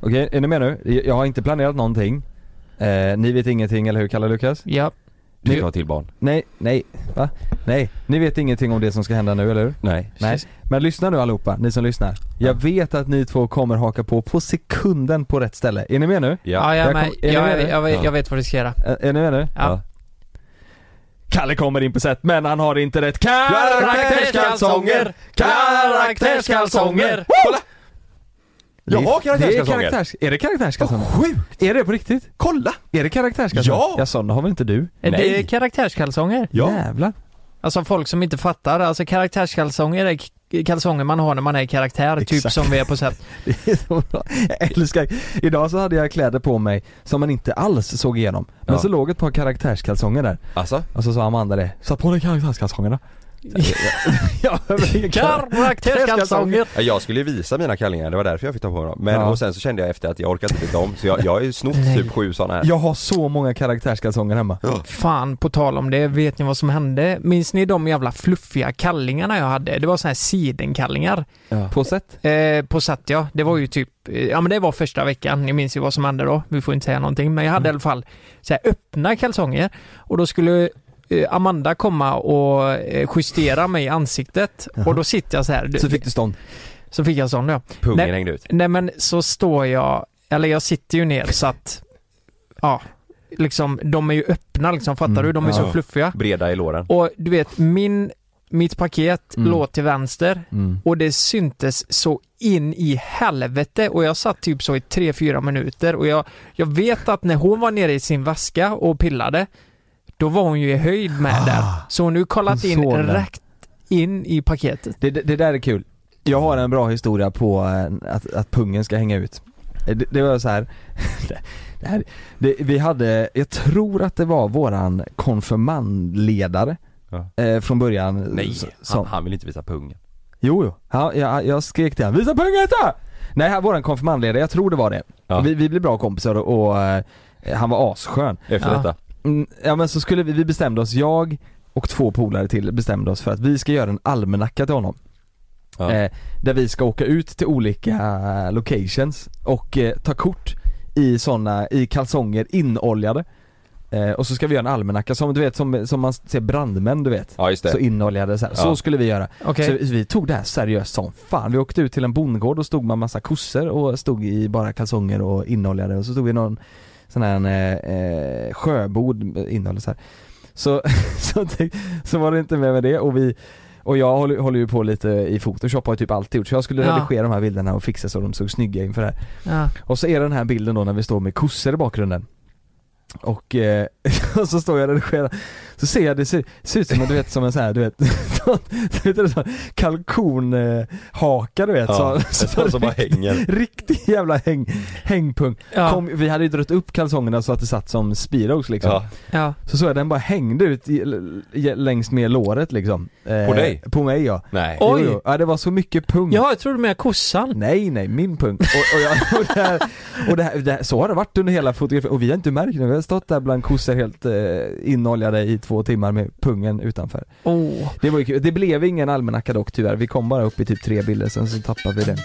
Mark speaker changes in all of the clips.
Speaker 1: Okej, är ni med nu? Jag har inte planerat någonting. Eh, ni vet ingenting, eller hur Kalle Lukas?
Speaker 2: Ja.
Speaker 3: Du
Speaker 1: Nu-
Speaker 3: ska ha till barn.
Speaker 1: Nej, nej, va? Nej, ni vet ingenting om det som ska hända nu, eller hur?
Speaker 3: Nej.
Speaker 1: Nej. Men lyssna nu allihopa, ni som lyssnar. Jag vet att ni två kommer haka på på sekunden på rätt ställe. Är ni med nu?
Speaker 3: Ja.
Speaker 2: Ah, Ja, jag,
Speaker 1: Jag
Speaker 2: är med.
Speaker 1: kom- är
Speaker 2: jag,
Speaker 1: ni med
Speaker 2: jag,
Speaker 1: nu?
Speaker 2: jag,
Speaker 3: Ja.
Speaker 2: jag vet vad du ska göra.
Speaker 1: Ä- Är ni med nu?
Speaker 2: Ja.
Speaker 1: Kalle kommer in på set, men han har inte rätt
Speaker 2: Karaktärskalsonger! Karaktärskalsonger!
Speaker 3: Kolla! Jag har karaktärskalsonger!
Speaker 1: Det är, karaktärs, är det karaktärskalsonger?
Speaker 3: Sjukt!
Speaker 1: Är det på riktigt?
Speaker 3: Kolla!
Speaker 1: Är det karaktärskalsonger?
Speaker 3: Ja!
Speaker 1: Ja, sådana har väl inte du?
Speaker 2: Är Det
Speaker 3: Nej.
Speaker 2: är karaktärskalsonger.
Speaker 3: Ja.
Speaker 1: Jävlar.
Speaker 2: Alltså folk som inte fattar. Alltså karaktärskalsonger är k- kalsonger man har när man är i karaktär, typ
Speaker 1: Exakt.
Speaker 2: som vi är på set.
Speaker 1: Det är så bra. Jag älskar. Idag så hade jag kläder på mig som man inte alls såg igenom. Men
Speaker 3: Ja.
Speaker 1: så låg ett par karaktärskalsonger där.
Speaker 3: Alltså?
Speaker 1: Och så sa Amanda det. Satt på dig karaktärskalsongerna. ja, men-
Speaker 2: Karaktärskalsonger!
Speaker 3: Ja, Jag skulle ju visa mina kallingar, det var därför jag fick ta på mig dem. Men
Speaker 1: Ja.
Speaker 3: och sen så kände jag efter att jag orkade inte byta om så jag, jag har ju snott
Speaker 2: Nej.
Speaker 3: typ sju sådana här.
Speaker 1: Jag har så många karaktärskalsonger hemma.
Speaker 2: Fan, på tal om det, vet ni vad som hände? Minns ni de jävla fluffiga kallingarna jag hade? Det var såna här sidenkallingar.
Speaker 1: På sätt.
Speaker 2: Eh, på set ja, det var ju typ, eh, ja men det var första veckan, ni minns ju vad som hände då, vi får inte säga någonting, men jag hade i
Speaker 1: Mm.
Speaker 2: alla fall så här, öppna kalsonger och då skulle eh, Amanda komma och eh, justera mig i ansiktet och då sitter jag så här,
Speaker 1: Så fick du stånd.
Speaker 2: så fick jag sån ja.
Speaker 3: Pungen
Speaker 2: Nej.
Speaker 3: hängde ut.
Speaker 2: Nej men så står jag, eller jag sitter ju ner så att, ja, liksom de är ju öppna liksom, fattar
Speaker 1: Mm.
Speaker 2: du? De är så
Speaker 3: Ja.
Speaker 2: fluffiga.
Speaker 3: Breda i låren.
Speaker 2: Och du vet, min, mitt paket
Speaker 1: Mm.
Speaker 2: låg till vänster
Speaker 1: Mm.
Speaker 2: och det syntes så in i helvete och jag satt typ så i 3-4 minuter och jag, jag vet att när hon var nere i sin väska och pillade då var hon ju i höjd med
Speaker 1: Ah,
Speaker 2: där. Så hon har ju kollat
Speaker 1: hon
Speaker 2: in
Speaker 1: såg den.
Speaker 2: rätt in i paketet.
Speaker 1: Det, det, det där är kul. Jag har en bra historia på eh, att, att pungen ska hänga ut. Eh, Det, det var så här. Det, det här det, vi hade, jag tror att det var våran konfirmandledare
Speaker 3: Ja.
Speaker 1: eh, från början.
Speaker 3: Nej,
Speaker 1: s- som-
Speaker 3: han, han vill inte visa pungen.
Speaker 1: Jo, jo. Ja, jag, jag skrek till honom 'Visa pungen då!' Nej, här var en konfirmandledare, jag tror det var det.
Speaker 3: Ja.
Speaker 1: Vi, vi blev bra kompisar och, och eh, han var asskön.
Speaker 3: Efter
Speaker 2: Ja.
Speaker 3: detta.
Speaker 1: Mm, ja men så skulle vi, vi bestämde oss, jag och två polare till bestämde oss för att vi ska göra en almanacka till honom.
Speaker 3: Ja.
Speaker 1: Eh, där vi ska åka ut till olika locations och eh, ta kort i såna, i kalsonger inoljade. Eh, och så ska vi göra en almanacka som du vet, som, som man ser brandmän du vet.
Speaker 3: Ja just det.
Speaker 1: Så inoljade så här.
Speaker 3: Ja.
Speaker 1: så skulle vi göra.
Speaker 2: Okej.
Speaker 1: Så vi tog det här seriöst som fan. Vi åkte ut till en bondgård och stod med massa kossor och stod i bara kalsonger och inoljade och så stod vi i någon sån här eh, eh, sjöbod innehåll så här. Så, så, tänk- så var det inte med med det och vi och jag håller, håller ju på lite i photoshop har jag typ alltid gjort så jag skulle
Speaker 2: Ja.
Speaker 1: redigera de här bilderna och fixa så de såg snygga inför det här.
Speaker 2: Ja.
Speaker 1: Och så är det den här bilden då när vi står med kossor i bakgrunden och, eh, och så står jag och redigerar, så ser jag det ser, ser ut som en, du vet som en sån här, du vet, du vet en sån kalkonhaka du vet
Speaker 3: Ja,
Speaker 1: så,
Speaker 3: en sån som bara hänger.
Speaker 1: Riktig jävla häng, hängpung.
Speaker 2: Ja.
Speaker 1: Kom, vi hade ju dragit upp kalsongerna så att det satt som speedos liksom
Speaker 3: Ja.
Speaker 2: Ja.
Speaker 1: Så såg jag den bara hängde ut i, l- i, längs med låret liksom Eh,
Speaker 3: På dig?
Speaker 1: På mig ja
Speaker 3: Nej.
Speaker 2: Och- Oj.
Speaker 1: Jo, jo. Ja det var så mycket pung
Speaker 2: ja, jag trodde med kossan.
Speaker 1: Nej nej, min pung. Och, och, jag, och, det här, och det här, det här, så har det varit under hela fotografin och vi har inte märkt det, vi har stått där bland kossor helt eh, inoljade i två timmar med pungen utanför.
Speaker 2: Oh.
Speaker 1: Det var ju kul. Det blev ingen almanacka dock tyvärr, vi kom bara upp i typ tre bilder sen så tappade vi den.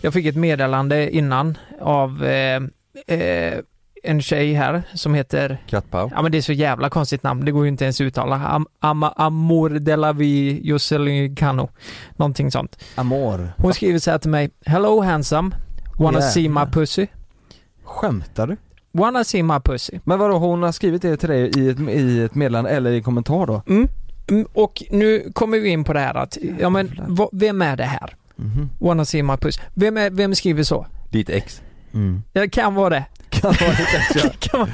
Speaker 2: Jag fick ett meddelande innan av eh, eh, en tjej här som heter
Speaker 3: Kattpaow.
Speaker 2: Ja men det är så jävla konstigt namn, det går ju inte ens att uttala. Am, am, amor de la vie Josselin Cano. Någonting sånt.
Speaker 1: Amor.
Speaker 2: Hon skriver så här till mig. Hello handsome. Wanna
Speaker 1: Yeah.
Speaker 2: see my pussy?
Speaker 1: Skämtar du?
Speaker 2: Wanna see my pussy?
Speaker 1: Men vadå, hon har skrivit det till dig i ett, i ett meddelande eller i en kommentar då?
Speaker 2: Mm. Mm, Och nu kommer vi in på det här att, ja men vad- vem är det här?
Speaker 1: Mhm.
Speaker 2: Wanna see my pussy? Vem, är, vem skriver så?
Speaker 3: Ditt ex.
Speaker 1: Mm.
Speaker 2: Det kan vara det.
Speaker 1: Kan vara lite extra.
Speaker 2: Det kan vara,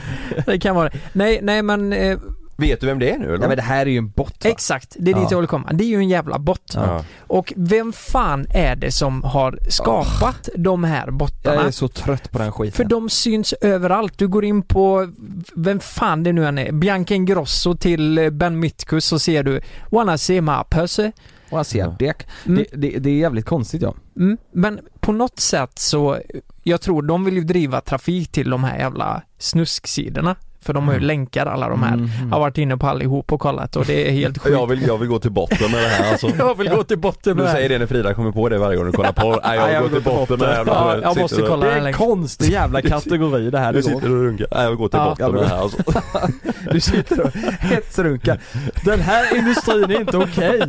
Speaker 2: det kan vara det. Nej, nej men eh,
Speaker 3: Vet du vem det är nu eller?
Speaker 1: Ja men det här är ju en bot va?
Speaker 2: exakt, det är dit
Speaker 1: Ja.
Speaker 2: jag vill komma. Det är ju en jävla bot.
Speaker 3: Ja.
Speaker 2: Och vem fan är det som har skapat de här
Speaker 1: Jag
Speaker 2: bottarna?
Speaker 1: är så trött på den skiten.
Speaker 2: För de syns överallt. Du går in på, vem fan det nu än är, Bianca Ingrosso till eh, Ben Mitkus så ser du Wanna see my pussy.
Speaker 1: Och jag ser
Speaker 3: Ja.
Speaker 1: det.
Speaker 2: Mm.
Speaker 1: Det, det, det är jävligt konstigt ja.
Speaker 2: Mm. Men på något sätt så, jag tror de vill ju driva trafik till de här jävla snusksidorna. för de har ju länkar alla de här.
Speaker 1: Mm.
Speaker 2: Har varit inne på allihop och kollat och det är helt sjukt.
Speaker 3: Jag vill, jag vill gå till botten med det här alltså.
Speaker 2: Jag vill gå till botten med
Speaker 3: Du
Speaker 2: det
Speaker 3: säger
Speaker 2: här.
Speaker 3: det när Frida kommer på det varje gång du kollar på Nej jag
Speaker 1: Nej,
Speaker 3: vill gå till botten med det här.
Speaker 2: Ja, jag
Speaker 3: Sitter
Speaker 2: måste
Speaker 3: och-
Speaker 1: Det
Speaker 2: kolla den
Speaker 1: är en
Speaker 2: länken.
Speaker 1: konstig jävla kategori det här
Speaker 3: Du
Speaker 1: du
Speaker 3: sitter och runkar. Nej jag vill gå till
Speaker 2: Ja.
Speaker 3: botten med det här alltså.
Speaker 1: Du sitter och hetsrunkar. Den här industrin är inte okej.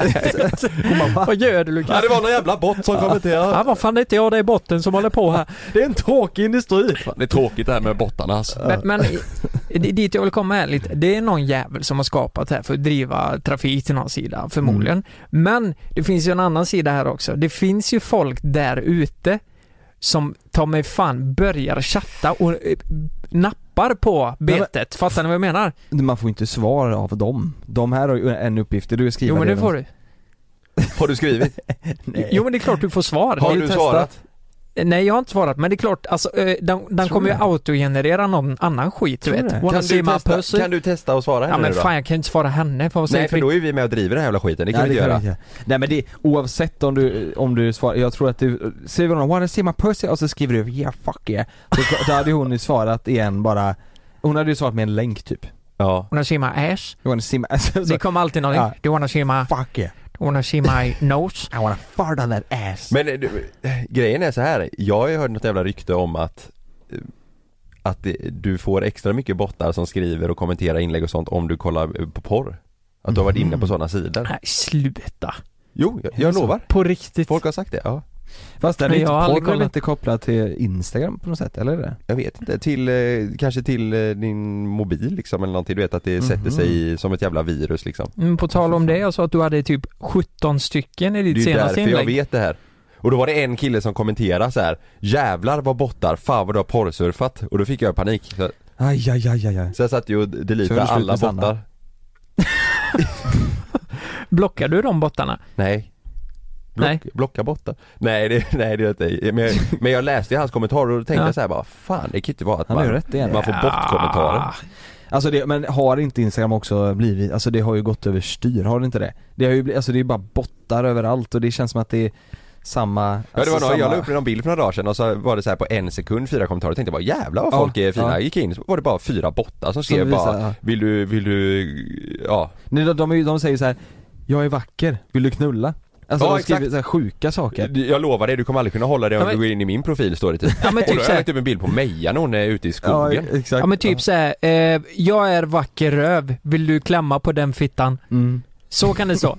Speaker 1: Och man bara,
Speaker 2: Vad gör du
Speaker 3: Ja,
Speaker 2: Lukas?
Speaker 3: det var någon jävla bot som kommenterade.
Speaker 2: Ja, vad fan det är inte jag där i botten som håller på här.
Speaker 1: Det är en tråkig industri.
Speaker 3: Fan, Det är tråkigt det här med bottarna alltså.
Speaker 2: Men, men i- i- dit jag vill komma är lite, det är någon jävel som har skapat det här för att driva trafik till någon sida förmodligen.
Speaker 3: Mm.
Speaker 2: Men det finns ju en annan sida här också. Det finns ju folk där ute som ta mig fan börjar chatta och eh, nappar på betet. Fattar ni vad jag menar?
Speaker 1: Man får inte svar av dem. De här har ju en uppgift, det är att skriva
Speaker 2: Jo men det
Speaker 1: de-
Speaker 2: får du.
Speaker 3: Har du skrivit?
Speaker 1: Nej.
Speaker 2: Jo men det är klart du får svar.
Speaker 3: Har du svarat?
Speaker 2: Nej jag har inte svarat men det är klart, alltså, eh, den, den
Speaker 1: Tror
Speaker 2: kommer ju
Speaker 1: det.
Speaker 2: autogenerera någon annan skit du
Speaker 1: Tror
Speaker 2: vet.
Speaker 1: det.
Speaker 2: Wanna
Speaker 3: Kan
Speaker 2: see
Speaker 3: du,
Speaker 2: my
Speaker 3: testa,
Speaker 2: pussy?
Speaker 3: kan du testa och svara
Speaker 2: Ja
Speaker 3: henne
Speaker 2: men
Speaker 3: nu då?
Speaker 2: fan jag kan inte svara henne för vad säger
Speaker 3: Nej för då är vi med och driver den här jävla skiten, det kan
Speaker 1: Nej,
Speaker 3: vi inte
Speaker 1: det
Speaker 3: göra.
Speaker 1: vi inte göra. Nej men det, oavsett om du, om du svarar, jag tror att du, skriver hon 'Wanna see my pussy' och så skriver du 'Yeah fuck yeah' då, då hade hon ju svarat igen bara, hon hade ju svarat med en länk typ.
Speaker 3: Ja.
Speaker 2: Wanna see my ass?
Speaker 1: 'Wanna see my' alltså, så,
Speaker 2: Det kommer alltid någonting.
Speaker 1: Ja.
Speaker 2: Do you wanna see my,
Speaker 1: 'Fuck yeah'
Speaker 2: wanna see my nose?
Speaker 1: I wanna fart on that ass.
Speaker 3: Men eh, du, grejen är så här. jag har ju hört något jävla rykte om att eh, att det, du får extra mycket bottar som skriver och kommenterar inlägg och sånt om du kollar eh, på porr. Att du har varit inne på sådana sidor.
Speaker 2: Nej sluta.
Speaker 3: Jo, jag,
Speaker 1: Är det
Speaker 3: jag
Speaker 1: så?
Speaker 3: lovar.
Speaker 2: På riktigt.
Speaker 3: Folk har sagt det, ja.
Speaker 1: Fast den är
Speaker 2: Men
Speaker 1: inte,
Speaker 2: jag har aldrig
Speaker 1: porr är väl
Speaker 2: kollat.
Speaker 1: inte kopplad till Instagram på något sätt, eller är det?
Speaker 3: Jag vet inte, till, eh, kanske till eh, din mobil liksom eller någonting. Du vet att det sätter
Speaker 1: Mhm.
Speaker 3: sig i- som ett jävla virus liksom.
Speaker 2: Mm, på tal om det, jag sa att du hade typ 17 stycken i
Speaker 3: Det är
Speaker 2: ditt
Speaker 3: ju därför
Speaker 2: senaste
Speaker 3: jag
Speaker 2: inlägg.
Speaker 3: vet det här. Och då var det en kille som kommenterade så här. Jävlar vad bottar, fan vad du har porrsurfat. Och då fick jag panik. Så,
Speaker 1: Aj, aj, aj, aj, aj.
Speaker 3: så jag satt ju och
Speaker 1: Så är det
Speaker 3: deletade
Speaker 1: slut
Speaker 3: alla
Speaker 1: med Sanna.
Speaker 3: bottar.
Speaker 2: Blockar du de bottarna?
Speaker 3: Nej Block,
Speaker 2: Nej.
Speaker 3: Blocka botta. Nej det, nej det gör jag inte. Men jag, men jag läste ju hans kommentarer och då tänkte
Speaker 2: Ja.
Speaker 3: jag så här bara Fan det kan ju inte vara att
Speaker 1: Han har ju
Speaker 3: man,
Speaker 1: rätt igen.
Speaker 3: man får
Speaker 2: Ah.
Speaker 3: bort kommentarer.
Speaker 1: Alltså det, men har inte Instagram också blivit, alltså det har ju gått över styr, har det inte det? Det har ju blivit, alltså det är ju bara bottar överallt och det känns som att det är samma,
Speaker 3: Ja det
Speaker 1: alltså
Speaker 3: var någon,
Speaker 1: samma...
Speaker 3: jag la upp någon bild för några dagar sedan och så var det så här på en sekund fyra kommentarer och tänkte bara jävlar vad
Speaker 1: Ja,
Speaker 3: folk är fina.
Speaker 1: ja.
Speaker 3: Jag gick in så var det bara fyra bottar som
Speaker 1: Som
Speaker 3: skrev
Speaker 1: visar,
Speaker 3: bara
Speaker 1: ja.
Speaker 3: Vill du, vill du, ja.
Speaker 1: Nej, de, de, är ju- de säger så här: jag är vacker, vill du knulla? Alltså
Speaker 3: Ja,
Speaker 1: de skriver
Speaker 3: exakt.
Speaker 1: så här sjuka saker.
Speaker 3: Jag lovar dig du kommer aldrig kunna hålla det om
Speaker 2: Ja, men-
Speaker 3: du går in i min profil står det typ.
Speaker 2: Ja men
Speaker 3: Och då
Speaker 2: typ
Speaker 3: har jag
Speaker 2: såhär,
Speaker 3: lagt upp en bild på Meja när hon är ute i
Speaker 1: Ja,
Speaker 3: skogen.
Speaker 1: exakt.
Speaker 2: ja men typ såhär, eh, jag är vacker röv, vill du klämma på den fittan?
Speaker 1: Mm.
Speaker 2: Så kan det stå.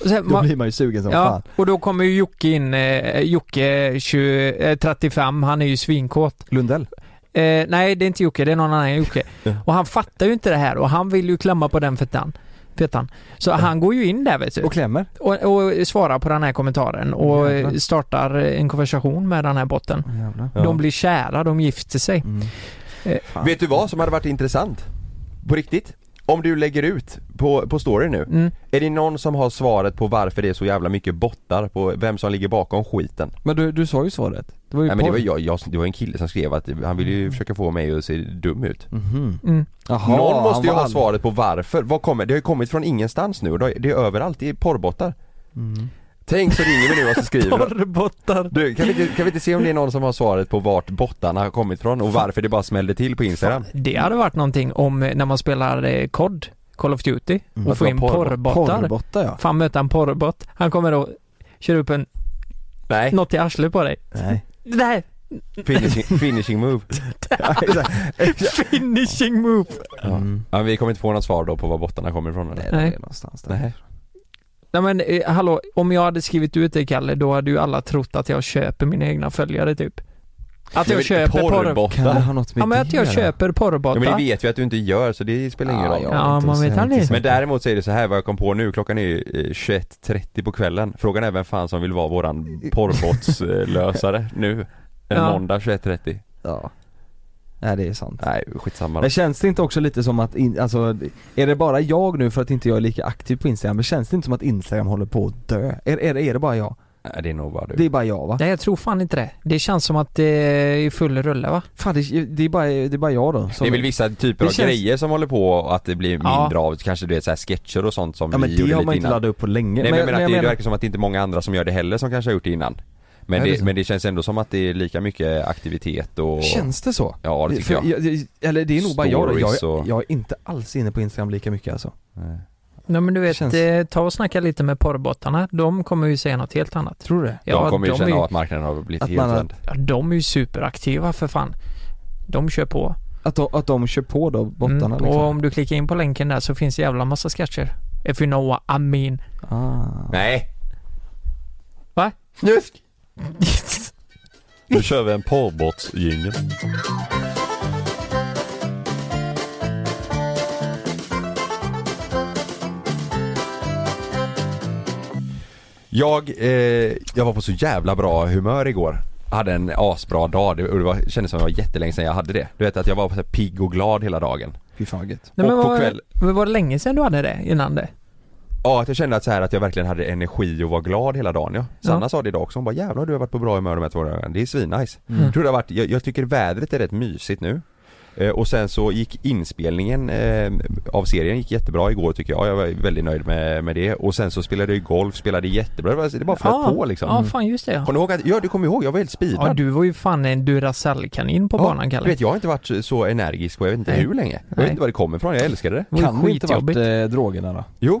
Speaker 2: Och sen,
Speaker 1: Då
Speaker 2: va-
Speaker 1: blir man ju sugen som
Speaker 2: Ja,
Speaker 1: fan.
Speaker 2: och då kommer ju Jocke in, eh, Jocke 20, eh, 35, han är ju svinkåt.
Speaker 1: Lundell?
Speaker 2: Eh, nej, det är inte Jocke, det är någon annan än Jocke. Och han fattar ju inte det här och han vill ju klämma på den fettan. fettan. Så han går ju in där vet du.
Speaker 1: Och klämmer?
Speaker 2: Och, och svarar på den här kommentaren och
Speaker 1: Jävlar.
Speaker 2: eh, startar en konversation med den här botten.
Speaker 1: Jävlar.
Speaker 3: Ja.
Speaker 2: De blir kära, de gifter sig.
Speaker 1: Mm.
Speaker 2: Eh,
Speaker 1: Fan.
Speaker 3: Vet du vad som hade varit intressant? På riktigt? Om du lägger ut på, på story nu
Speaker 2: Mm.
Speaker 3: Är det någon som har svaret på varför det är så jävla mycket bottar på vem som ligger bakom skiten?
Speaker 1: Men du, du sa ju svaret. Det var ju
Speaker 3: Nej men det
Speaker 1: porr.
Speaker 3: var jag, jag, det var en kille som skrev att han ville ju försöka få mig att se dum ut
Speaker 1: Mhm.
Speaker 2: Mm.
Speaker 1: Jaha,
Speaker 3: Någon
Speaker 1: han
Speaker 3: måste ju
Speaker 1: var
Speaker 3: ha
Speaker 1: all-
Speaker 3: svaret på varför, vad kommer, det har ju kommit från ingenstans nu, det det är överallt, det är porrbottar
Speaker 1: Mm.
Speaker 3: Tänk så ringer vi nu och så skriver de.
Speaker 2: Porrbottar.
Speaker 3: Du, kan vi, inte, kan vi inte se om det är någon som har svaret på vart bottarna har kommit från och varför det bara smällde till på Instagram?
Speaker 2: Det hade varit någonting om eh, när man spelar eh, COD, Call of Duty,
Speaker 1: Mm.
Speaker 2: och få in
Speaker 3: Porr-
Speaker 2: porrbottar.
Speaker 1: Porrbotta ja.
Speaker 2: Fan möta en porrbott. Han kommer och kör upp en,
Speaker 3: Nej,
Speaker 2: något i arslet på dig.
Speaker 1: Nej.
Speaker 2: Det här
Speaker 3: finishing, finishing move
Speaker 2: finishing move!
Speaker 3: Ja.
Speaker 1: Mm.
Speaker 3: ja, men vi kommer inte få något svar då på var bottarna kommer ifrån
Speaker 1: Nej,
Speaker 3: eller?
Speaker 1: det är
Speaker 2: Nej.
Speaker 1: någonstans där.
Speaker 3: Nej.
Speaker 2: Nej men eh, hallå, om jag hade skrivit ut det Kalle, då hade ju alla trott att jag köper mina egna följare typ. Att jag
Speaker 3: Men
Speaker 2: köper porr...
Speaker 1: Kan det
Speaker 3: porrbottar?
Speaker 1: ha något med
Speaker 2: Ja men
Speaker 1: det
Speaker 2: att jag
Speaker 1: att göra?
Speaker 2: köper
Speaker 3: Ja, men det
Speaker 2: porrbottar.
Speaker 3: vet vi att du inte gör så det spelar ingen
Speaker 1: Ja,
Speaker 3: roll.
Speaker 1: ja.
Speaker 2: Ja,
Speaker 1: inte
Speaker 2: man
Speaker 1: så-
Speaker 2: vet
Speaker 1: inte
Speaker 2: aldrig.
Speaker 1: så-
Speaker 3: Men däremot säger det så här vad jag kom på nu, klockan är ju eh, 21.30 på kvällen. Frågan är vem fan som vill vara våran porrbotslösare nu. En
Speaker 2: Ja.
Speaker 3: måndag 21.30.
Speaker 1: Ja. Nej det är sant.
Speaker 3: Nej skitsamma då.
Speaker 1: Men känns det inte också lite som att, in, alltså, är det bara jag nu för att inte jag är lika aktiv på Instagram? Men känns det inte som att Instagram håller på att dö? Är, är, det- är det bara jag?
Speaker 3: Nej, det är nog bara du.
Speaker 1: Det är bara jag va?
Speaker 2: Nej jag tror fan inte det. Det känns som att det är full rulle va?
Speaker 1: Fan det, det, är, bara, det är bara jag då
Speaker 3: Det
Speaker 1: som
Speaker 3: är väl vissa typer
Speaker 1: Det
Speaker 3: av
Speaker 1: känns-
Speaker 3: grejer som håller på att det blir
Speaker 2: Ja.
Speaker 3: mindre av, kanske du vet såhär sketcher och sånt som
Speaker 1: Ja men
Speaker 3: vi
Speaker 1: det
Speaker 3: gjorde
Speaker 1: har man
Speaker 3: lite
Speaker 1: inte
Speaker 3: innan.
Speaker 1: laddat upp på länge.
Speaker 3: Nej men, jag menar att det, det
Speaker 1: menar-
Speaker 3: verkar som att det inte är många andra som gör det heller som kanske har gjort det innan. Men,
Speaker 1: Ja, det är
Speaker 3: det,
Speaker 1: så.
Speaker 3: men det känns ändå som att det är lika mycket aktivitet och...
Speaker 1: Känns det så?
Speaker 3: Ja det tycker
Speaker 1: För
Speaker 3: jag.
Speaker 1: jag- Eller det är nog bara jag,
Speaker 3: Stories
Speaker 1: jag,
Speaker 3: och-
Speaker 1: jag är inte alls inne på Instagram lika mycket alltså
Speaker 3: Nej.
Speaker 2: Nej men du vet,
Speaker 1: Känns-
Speaker 2: eh, ta och snacka lite med porrbottarna. De kommer ju säga något helt annat.
Speaker 1: Tror du det?
Speaker 3: De kommer ju
Speaker 2: är
Speaker 3: känna att marknaden har blivit
Speaker 1: Att
Speaker 3: helt
Speaker 1: man-
Speaker 3: vänd.
Speaker 2: Ja, de är ju superaktiva för fan. De kör på.
Speaker 1: Att de, att de kör på då, bottarna
Speaker 2: Mm, Och
Speaker 1: liksom?
Speaker 2: om du klickar in på länken där så finns det jävla massa sketcher. If you know what I mean.
Speaker 1: Ah.
Speaker 3: Nej!
Speaker 2: Va?
Speaker 3: Snusk! Nu kör vi en porrbottsjingel. Jag, eh, jag var på så jävla bra humör igår. Hade en asbra dag, det, och det var, kändes som det var jättelänge sedan jag hade det. Du vet att jag var så här pigg och glad hela dagen.
Speaker 1: Fy fan vad gött.
Speaker 2: Nej, men
Speaker 3: Och på
Speaker 2: var,
Speaker 3: kväll.
Speaker 2: men var det länge sedan du hade det innan det?
Speaker 3: Ja, att jag kände att, så här, att jag verkligen hade energi och var glad hela dagen ja. Sanna
Speaker 2: Ja.
Speaker 3: sa det idag också, hon bara jävlar du har varit på bra humör de här två dagarna, det är svinnice.
Speaker 2: Mm.
Speaker 3: Jag, tror det har varit, jag, jag tycker vädret är rätt mysigt nu. Eh, och sen så gick inspelningen eh, av serien gick jättebra igår tycker jag, jag var väldigt nöjd med, med det. Och sen så spelade jag ju golf, spelade jättebra, det, var, det bara flöt
Speaker 2: Ja,
Speaker 3: på liksom.
Speaker 2: Ja, fan just det ja.
Speaker 3: Kommer du ihåg att, ja du kommer ihåg, jag var helt speedad.
Speaker 2: ja du var ju fan en Duracell-kanin på
Speaker 3: Ja,
Speaker 2: banan Kalle.
Speaker 3: Du vet jag har inte varit så- så energisk på jag vet inte
Speaker 2: Nej.
Speaker 3: hur länge. Jag
Speaker 2: Nej.
Speaker 3: vet inte var det kommer ifrån, jag älskade det.
Speaker 2: Det var ju
Speaker 1: Kan det inte varit
Speaker 2: skitjobbigt.
Speaker 1: eh, drogerna då?
Speaker 3: Jo,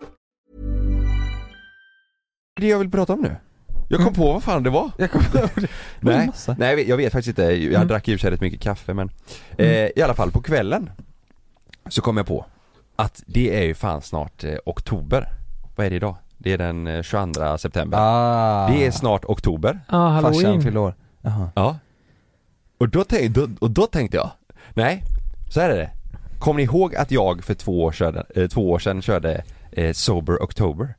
Speaker 3: det jag vill prata om nu. Jag kom Mm. på vad fan det var.
Speaker 1: Jag kommer var
Speaker 3: Nej,
Speaker 1: massa.
Speaker 3: nej jag vet- jag vet faktiskt inte, jag drack i och för sig rätt mycket kaffe men eh, I alla fall på kvällen Så kom jag på Att det är ju fan snart eh, oktober Vad är det idag? Det är den eh, 22 september
Speaker 1: ah.
Speaker 3: Det är snart oktober
Speaker 2: Ja,
Speaker 1: Farsan
Speaker 2: halloween.
Speaker 1: fyller år. Jaha.
Speaker 3: Ja och då, tänk, då, och då tänkte jag Nej, så här är det Kommer ni ihåg att jag för två år sedan, eh, två år sedan körde eh, Sober October?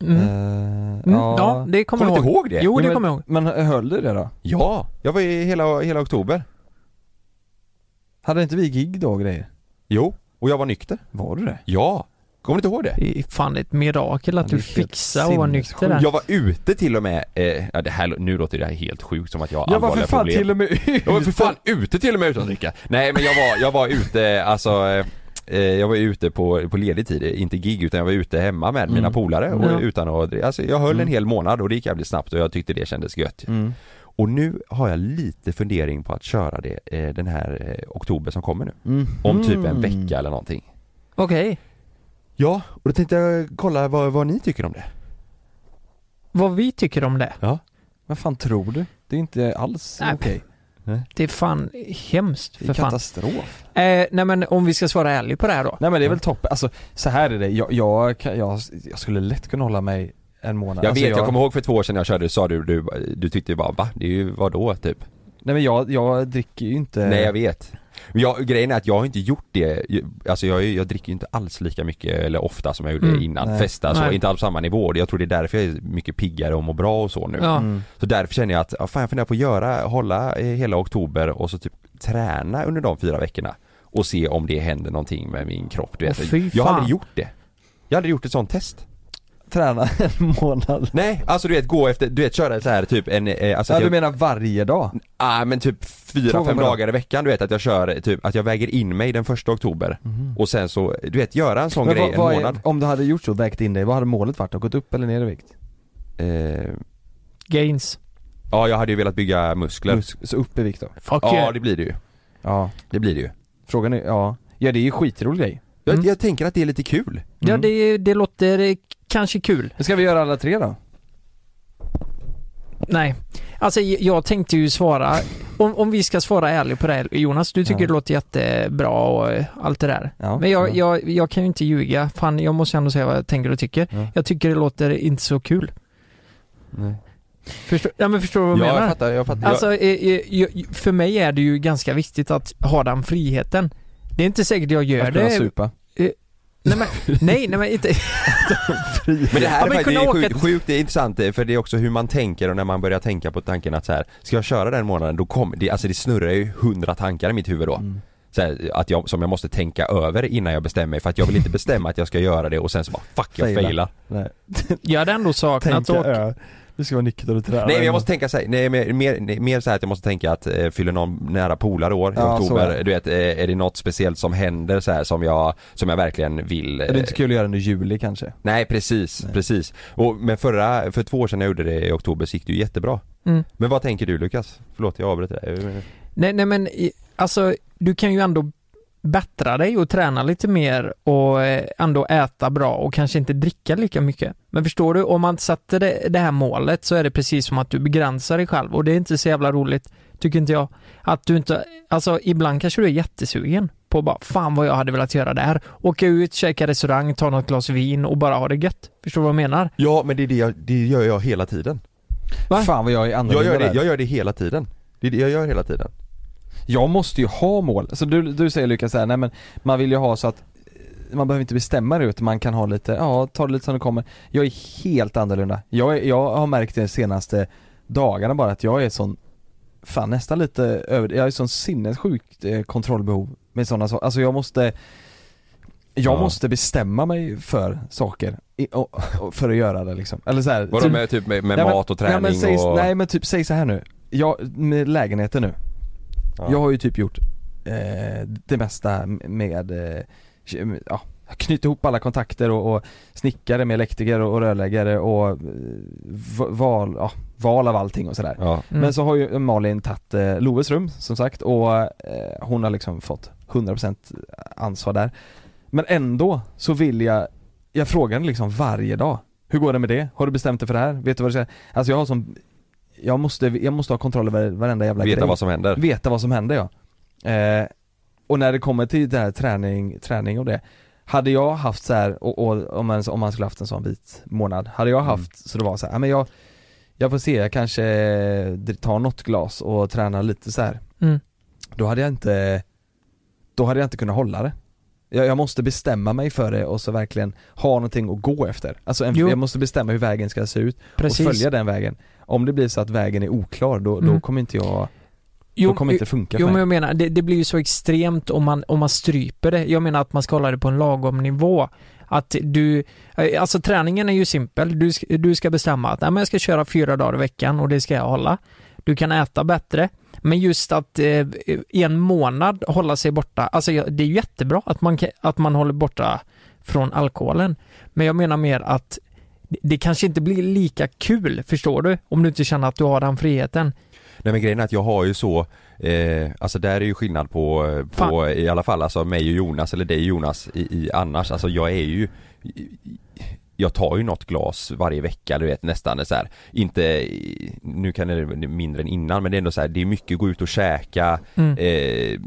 Speaker 2: Mm. Mm.
Speaker 1: Eh,
Speaker 2: Ja, det kommer
Speaker 3: Kommer
Speaker 2: jag
Speaker 3: du inte
Speaker 2: ihåg.
Speaker 3: ihåg det?
Speaker 2: Jo, det
Speaker 1: Men-
Speaker 2: kommer jag ihåg.
Speaker 1: Men höll du det då?
Speaker 3: Ja, jag var i hela, hela oktober
Speaker 1: Hade inte vi gig då och grejer?
Speaker 3: Jo, och jag var nykter
Speaker 1: Var du det?
Speaker 3: Ja, kommer du inte ihåg det?
Speaker 2: Det är fan ett mirakel att
Speaker 1: Ja,
Speaker 2: du
Speaker 1: det är helt
Speaker 2: fixar och var nykter där.
Speaker 3: Jag var ute till och med, eh, ja, det här, nu låter det här helt sjukt som att jag har
Speaker 1: Jag var
Speaker 3: allvarliga
Speaker 1: för fan
Speaker 3: problem.
Speaker 1: till och med
Speaker 3: Jag var för fan ute till och med utan att dricka. Nej men jag var, jag var ute, alltså eh, eh, jag var ute på, på ledig tid, eh, inte gig utan jag var ute hemma med
Speaker 1: Mm.
Speaker 3: mina polare och
Speaker 2: Ja.
Speaker 3: utan att, alltså jag höll en hel månad och det gick jävligt snabbt och jag tyckte det kändes gött.
Speaker 1: Mm.
Speaker 3: Och nu har jag lite fundering på att köra det eh, den här eh, oktober som kommer nu.
Speaker 1: Mm.
Speaker 3: Om typ en
Speaker 1: Mm.
Speaker 3: vecka eller någonting.
Speaker 2: Okej,
Speaker 3: Ja, och då tänkte jag kolla vad, vad ni tycker om det.
Speaker 2: vad vi tycker om det.
Speaker 3: Ja.
Speaker 1: Vad fan tror du? Det är inte alls
Speaker 2: Nej.
Speaker 1: okej.
Speaker 2: Det är fan hemskt
Speaker 1: Det
Speaker 2: för
Speaker 1: är
Speaker 2: fan.
Speaker 1: katastrof.
Speaker 2: Eh, nej men om vi ska svara ärligt på det här då.
Speaker 1: Nej men det är väl toppen. Alltså så här är det. Jag, jag, kan- jag, jag skulle lätt kunna hålla mig en månad.
Speaker 3: Jag
Speaker 1: alltså,
Speaker 3: vet, jag... kommer ihåg för två år sedan när jag körde sa du, du, du tyckte ju bara va? Det är ju vadå typ?
Speaker 1: Nej men jag, jag dricker ju inte.
Speaker 2: Eh.
Speaker 3: Nej jag vet. Men jag, grejen är att jag har inte gjort det, alltså jag, jag dricker ju inte alls lika mycket eller ofta som jag gjorde
Speaker 2: Mm.
Speaker 3: innan,
Speaker 1: Nej.
Speaker 3: festa så,
Speaker 2: Nej.
Speaker 3: inte alls på samma nivå. Jag tror det är därför jag är mycket piggare och mår bra och så nu.
Speaker 2: Ja.
Speaker 1: Mm.
Speaker 3: Så därför känner jag att, ja, fan jag funderar på att göra, hålla eh, hela oktober och så typ träna under de fyra veckorna. Och se om det händer någonting med min kropp, du
Speaker 2: Åh,
Speaker 3: vet.
Speaker 2: fy
Speaker 3: jag har aldrig
Speaker 2: fan.
Speaker 3: gjort det. Jag har aldrig gjort ett sånt test.
Speaker 1: Träna en månad.
Speaker 3: Nej, alltså du vet gå efter, du vet köra så här typ en, eh, alltså
Speaker 1: Ja
Speaker 3: att
Speaker 1: du
Speaker 3: jag-
Speaker 1: menar varje dag?
Speaker 3: Ah, men typ
Speaker 1: Två
Speaker 3: fyra, fem
Speaker 1: gånger.
Speaker 3: dagar i veckan du vet att jag kör, typ att jag väger in mig den första oktober
Speaker 2: Mhm.
Speaker 3: och sen så, du vet göra en sån
Speaker 1: Men
Speaker 3: grej
Speaker 1: vad, vad
Speaker 3: en
Speaker 1: är-
Speaker 3: månad
Speaker 1: om du hade gjort så, vägt in dig, vad hade målet varit då? Gått upp eller ner i vikt?
Speaker 3: eh,
Speaker 2: Gains.
Speaker 3: Ja jag hade ju velat bygga muskler
Speaker 1: Mus- Så upp i vikt då?
Speaker 2: Fuck
Speaker 3: Ja
Speaker 2: yeah.
Speaker 3: det blir det ju,
Speaker 1: Ja.
Speaker 3: det blir det ju
Speaker 1: Frågan är, ja. Ja det är ju skitrolig grej.
Speaker 3: jag,
Speaker 2: Mm.
Speaker 3: jag tänker att det är lite kul
Speaker 2: Ja, det, det låter eh, kanske kul.
Speaker 1: Men ska vi göra alla tre då?
Speaker 2: Nej. Alltså j- jag tänkte ju svara, om, om vi ska svara ärligt på det här, Jonas, du tycker
Speaker 1: Ja.
Speaker 2: det låter jättebra och eh, allt det där.
Speaker 1: Ja. Mm.
Speaker 2: Men jag,
Speaker 1: ja.
Speaker 2: jag, jag kan ju inte ljuga, fan jag måste ändå säga vad jag tänker och tycker.
Speaker 1: Ja.
Speaker 2: Jag tycker det låter inte så kul.
Speaker 3: Nej.
Speaker 2: Förstår, ja, men förstår du vad jag
Speaker 3: Ja
Speaker 2: menar?
Speaker 3: jag fattar, jag fattar
Speaker 2: Alltså, eh, eh, jag, för mig är det ju ganska viktigt att ha den friheten. Det är inte säkert jag gör
Speaker 1: Att kunna
Speaker 2: det
Speaker 1: supa.
Speaker 3: jag,
Speaker 2: Nej men, nej, nej men inte...
Speaker 3: Men det här
Speaker 2: Ja,
Speaker 3: är
Speaker 2: men
Speaker 3: faktiskt det
Speaker 2: kunna
Speaker 3: är
Speaker 2: åka
Speaker 3: sjukt,
Speaker 2: ett-
Speaker 3: sjukt det är intressant eh, för det är också hur man tänker och när man börjar tänka på tanken att så här, ska jag köra den månaden då kommer, det, alltså det snurrar ju hundra tankar i mitt huvud då.
Speaker 2: Mm.
Speaker 1: Mm.
Speaker 3: Så här, att jag, som jag måste tänka över innan jag bestämmer mig för att jag vill inte bestämma att jag ska göra det och sen så bara fuck jag
Speaker 1: Faila.
Speaker 3: failar.
Speaker 1: Nej.
Speaker 2: Jag hade ändå saknat
Speaker 1: Tänk
Speaker 2: att åka.
Speaker 1: ö. Du ska vara nykter och träna.
Speaker 3: Nej men jag måste tänka såhär, nej mer, mer, nej, mer så här att jag måste tänka att eh, fyller någon nära polare år i
Speaker 1: Ja, så är
Speaker 3: oktober,
Speaker 1: det.
Speaker 3: du vet eh, är det något speciellt som händer så här som jag, som jag verkligen vill
Speaker 1: Är det
Speaker 3: eh,
Speaker 1: inte kul att göra den i juli kanske?
Speaker 3: Nej precis, precis. Och, men förra, för två år sedan jag gjorde det i oktober så gick det ju jättebra.
Speaker 2: Mm.
Speaker 3: Men vad tänker du Lukas? Förlåt jag avbryter dig. Eh,
Speaker 2: Nej, nej men i- alltså du kan ju ändå bättra dig och träna lite mer och eh, ändå äta bra och kanske inte dricka lika mycket. Men förstår du, om man sätter det, det här målet så är det precis som att du begränsar dig själv och det är inte så jävla roligt, tycker inte jag. Att du inte, alltså ibland kanske du är jättesugen på bara fan vad jag hade velat göra där. Åka ut, käka restaurang, ta något glas vin och bara ha det gött. Förstår du vad jag menar?
Speaker 3: Ja men det, är det, jag, det gör jag hela tiden.
Speaker 2: Va?
Speaker 1: Fan vad jag är
Speaker 3: Jag
Speaker 1: annorlunda
Speaker 3: gör det,
Speaker 1: där.
Speaker 3: jag gör det Mm. hela tiden. Det är det jag gör hela tiden.
Speaker 1: Jag måste ju ha mål. Alltså du, du säger Lukas så här, nej men man vill ju ha så att eh, man behöver inte bestämma det utan man kan ha lite, ja ta det lite som det kommer. Jag är helt annorlunda. Jag, är, jag har märkt det de senaste dagarna bara att jag är sån, fan nästan lite över, jag är sån sinnessjukt eh, kontrollbehov med sådana saker. Alltså jag måste jag
Speaker 3: Ja.
Speaker 1: måste bestämma mig för saker, i, och, och, för att göra det liksom. Eller så här,
Speaker 3: Vadå
Speaker 1: typ-
Speaker 3: med typ med, med
Speaker 1: Nej, men-
Speaker 3: mat och
Speaker 1: nej,
Speaker 3: träning
Speaker 1: men säg,
Speaker 3: och...
Speaker 1: Nej men typ, säg så här nu. Jag, med lägenheten nu.
Speaker 3: Ja.
Speaker 1: Jag har ju typ gjort eh, det mesta med, eh, ke- ja, knyta ihop alla kontakter och, och snickare med elektriker och rörläggare och eh, v- val, ja, val av allting och sådär.
Speaker 3: Ja.
Speaker 2: Mm.
Speaker 1: Men så har ju Malin tagit eh, Loves rum som sagt och eh, hon har liksom fått 100% ansvar där. Men ändå så vill jag, jag frågar henne liksom varje dag. Hur går det med det? Har du bestämt dig för det här? Vet du vad du ska, alltså jag har som, jag måste, jag måste ha kontroll över varenda jävla
Speaker 3: Veta
Speaker 1: grej.
Speaker 3: vad som händer.
Speaker 1: Veta vad som händer ja. Eh, och när det kommer till det här träning, träning och det. Hade jag haft så här, och, och om, man, om man skulle haft en sån vit månad, hade jag haft så det var så här, "Ja, men jag, jag får se, jag kanske eh, tar något glas och tränar lite så här.
Speaker 2: Mm.
Speaker 1: Då hade jag inte, då hade jag inte kunnat hålla det. Jag, jag måste bestämma mig för det och så verkligen ha någonting att gå efter. Alltså en,
Speaker 2: Jo.
Speaker 1: jag måste bestämma hur vägen ska se ut
Speaker 2: Precis.
Speaker 1: och följa den vägen. Om det blir så att vägen är oklar, då, då
Speaker 2: Mm.
Speaker 1: kommer inte jag
Speaker 2: Jo,
Speaker 1: då kommer inte det funka
Speaker 2: Jo
Speaker 1: för
Speaker 2: men
Speaker 1: mig.
Speaker 2: jag menar, det, det blir ju så extremt om man, om man stryper det. Jag menar att man ska hålla det på en lagom nivå. Att du, eh, alltså träningen är ju simpel. Du, sk- du ska bestämma att "Nej, men jag ska köra fyra dagar i veckan och det ska jag hålla. Du kan äta bättre. Men just att eh, i en månad hålla sig borta, alltså jag- det är ju jättebra att man, kan- att man håller borta från alkoholen. Men jag menar mer att det- det kanske inte blir lika kul, förstår du? Om du inte känner att du har den friheten.
Speaker 3: Nej men grejen är att jag har ju så, eh, alltså där är ju skillnad på, eh, på
Speaker 2: Fan.
Speaker 3: i alla fall alltså mig och Jonas eller dig Jonas i, i annars, alltså jag är ju i- i- jag tar ju något glas varje vecka du vet nästan så här. Inte, i- nu kan det vara mindre än innan men det är ändå så här, det är mycket gå ut och käka
Speaker 2: Mm.
Speaker 3: eh,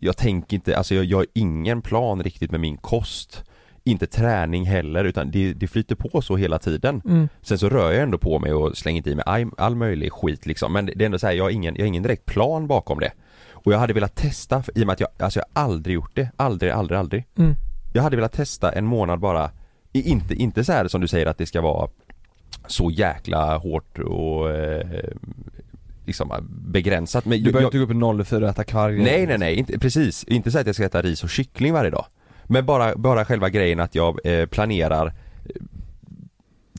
Speaker 3: Jag tänker inte, alltså jag, jag har ingen plan riktigt med min kost Inte träning heller utan det, det flyter på så hela tiden
Speaker 2: Mm.
Speaker 3: Sen så rör jag ändå på mig och slänger inte i mig all, all möjlig skit liksom Men det det är ändå så här, jag har ingen, jag har ingen direkt plan bakom det Och jag hade velat testa, för, i och med att jag, alltså jag har aldrig gjort det, aldrig, aldrig, aldrig
Speaker 2: Mm.
Speaker 3: Jag hade velat testa en månad bara I- Inte, inte så här som du säger att det ska vara Så jäkla hårt och eh, liksom begränsat men
Speaker 1: Du
Speaker 3: jag-
Speaker 1: behöver inte gå upp i 04 och äta kvarg
Speaker 3: Nej nej nej, inte, precis. Inte så att jag ska äta ris och kyckling varje dag. Men bara, bara själva grejen att jag eh, planerar eh,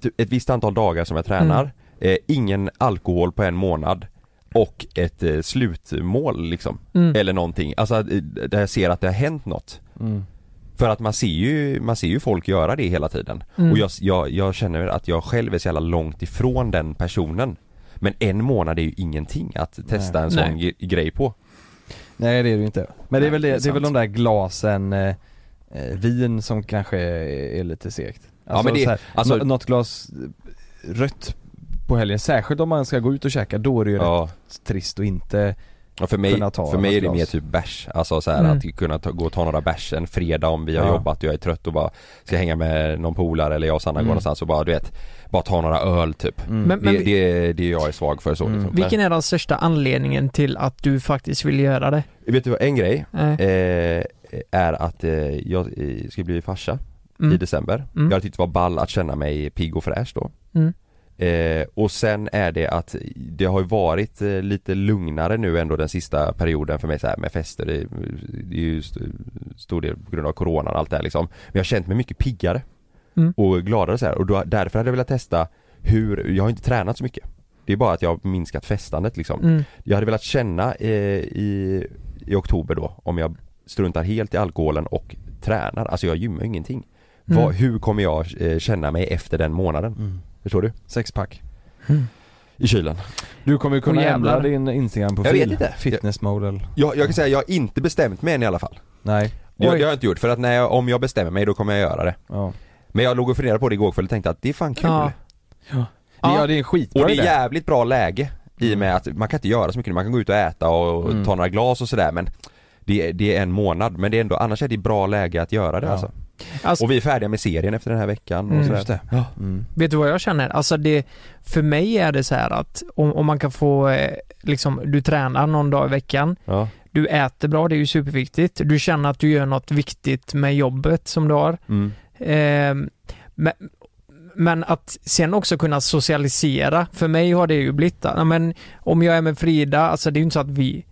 Speaker 3: typ ett visst antal dagar som jag tränar, eh, ingen alkohol på en månad och ett eh, slutmål liksom.
Speaker 2: Mm.
Speaker 3: Eller någonting, alltså att, eh, där jag ser att det har hänt något.
Speaker 1: Mm.
Speaker 3: För att man ser ju, man ser ju folk göra det hela tiden.
Speaker 2: Mm.
Speaker 3: Och jag, jag, jag känner att jag själv är så jävla långt ifrån den personen. Men en månad är ju ingenting att testa en sån
Speaker 2: Nej.
Speaker 3: ge- grej på.
Speaker 1: Nej det är det ju inte. Men det är väl, det,
Speaker 2: Nej,
Speaker 1: det
Speaker 2: det
Speaker 1: är
Speaker 2: är
Speaker 1: väl de
Speaker 2: sant.
Speaker 1: där glasen eh, eh, vin som kanske är, är lite segt. Alltså,
Speaker 3: men det-
Speaker 1: så här,
Speaker 3: alltså-
Speaker 1: nå- något glas eh, rött på helgen, särskilt om man ska gå ut och käka, då är det ju
Speaker 3: Ja.
Speaker 1: rätt trist och inte
Speaker 3: Ja, för mig,
Speaker 1: kunna ta
Speaker 3: för mig är
Speaker 1: något
Speaker 3: det mer
Speaker 1: glas.
Speaker 3: typ bärs, alltså så här,
Speaker 2: Mm.
Speaker 3: att kunna ta, gå och ta några bärs en fredag om vi har
Speaker 1: Ja.
Speaker 3: jobbat och jag är trött och bara ska hänga med någon polare eller jag och Sanna
Speaker 1: Mm.
Speaker 3: går någonstans och bara du vet, bara ta några öl typ.
Speaker 1: mm.
Speaker 2: Men-
Speaker 3: det, det, det jag är svag för så
Speaker 1: Mm.
Speaker 3: liksom.
Speaker 2: Vilken är den största anledningen till att du faktiskt vill göra det? Eh,
Speaker 3: Men, Vet du vad, en grej
Speaker 2: Nej.
Speaker 3: eh, är att eh, jag eh, ska bli farsa
Speaker 2: Mm.
Speaker 3: i december.
Speaker 2: Mm.
Speaker 3: Jag tyckte det var ball att känna mig pigg och fräsch då.
Speaker 2: Mm.
Speaker 3: Eh, och sen är det att det har ju varit eh, lite lugnare nu ändå den sista perioden för mig så här med fester. Det, det är ju st- stor del på grund av coronan och allt det här liksom. Men jag har känt mig mycket piggare
Speaker 2: Mm.
Speaker 3: och gladare så här. och då, därför hade jag velat testa hur, jag har inte tränat så mycket. Det är bara att jag har minskat festandet liksom.
Speaker 2: Mm.
Speaker 3: Jag hade velat känna eh, i, i oktober då om jag struntar helt i alkoholen och tränar, alltså jag gymmar ju ingenting.
Speaker 2: Mm.
Speaker 3: Vad, hur kommer jag eh, känna mig efter den månaden?
Speaker 1: Mm.
Speaker 3: Förstår du?
Speaker 1: Sexpack.
Speaker 3: I kylen.
Speaker 1: Du kommer ju kunna
Speaker 2: Åh, jävlar.
Speaker 1: ändra din instagram
Speaker 3: Jag vet
Speaker 1: profil
Speaker 3: inte.
Speaker 1: Fitnessmodel.
Speaker 3: Jag, jag kan säga jag har inte bestämt mig än i alla fall.
Speaker 1: Nej.
Speaker 3: Det, det
Speaker 2: Oj.
Speaker 3: har jag inte gjort för att när jag, om jag bestämmer mig då kommer jag göra det.
Speaker 1: Ja.
Speaker 3: Men jag låg och funderade på det igår kväll och tänkte att det är fan kul.
Speaker 2: Ja.
Speaker 1: Ja,
Speaker 2: Ja.
Speaker 1: det är en skitbra
Speaker 3: Och det är
Speaker 1: idé.
Speaker 3: jävligt bra läge i och med att man kan inte göra så mycket nu. Man kan gå ut och äta och
Speaker 1: Mm.
Speaker 3: ta några glas och sådär men det, är- det är en månad men det är ändå, annars är det bra läge att göra det
Speaker 1: Ja.
Speaker 3: alltså.
Speaker 2: Alltså,
Speaker 3: Och vi är färdiga med serien efter den här veckan och
Speaker 2: Mm.
Speaker 3: sådär.
Speaker 1: Just det.
Speaker 3: Ja.
Speaker 1: Mm.
Speaker 2: Vet du vad jag känner? Alltså det, för mig är det så här att om, om man kan få, eh, liksom, du tränar någon dag i veckan,
Speaker 3: Ja.
Speaker 2: du äter bra, det är ju superviktigt, du känner att du gör något viktigt med jobbet som du har.
Speaker 3: Mm.
Speaker 2: Eh, men, men att sen också kunna socialisera, för mig har det ju blivit ja, men om jag är med Frida, alltså det är ju inte så att vi,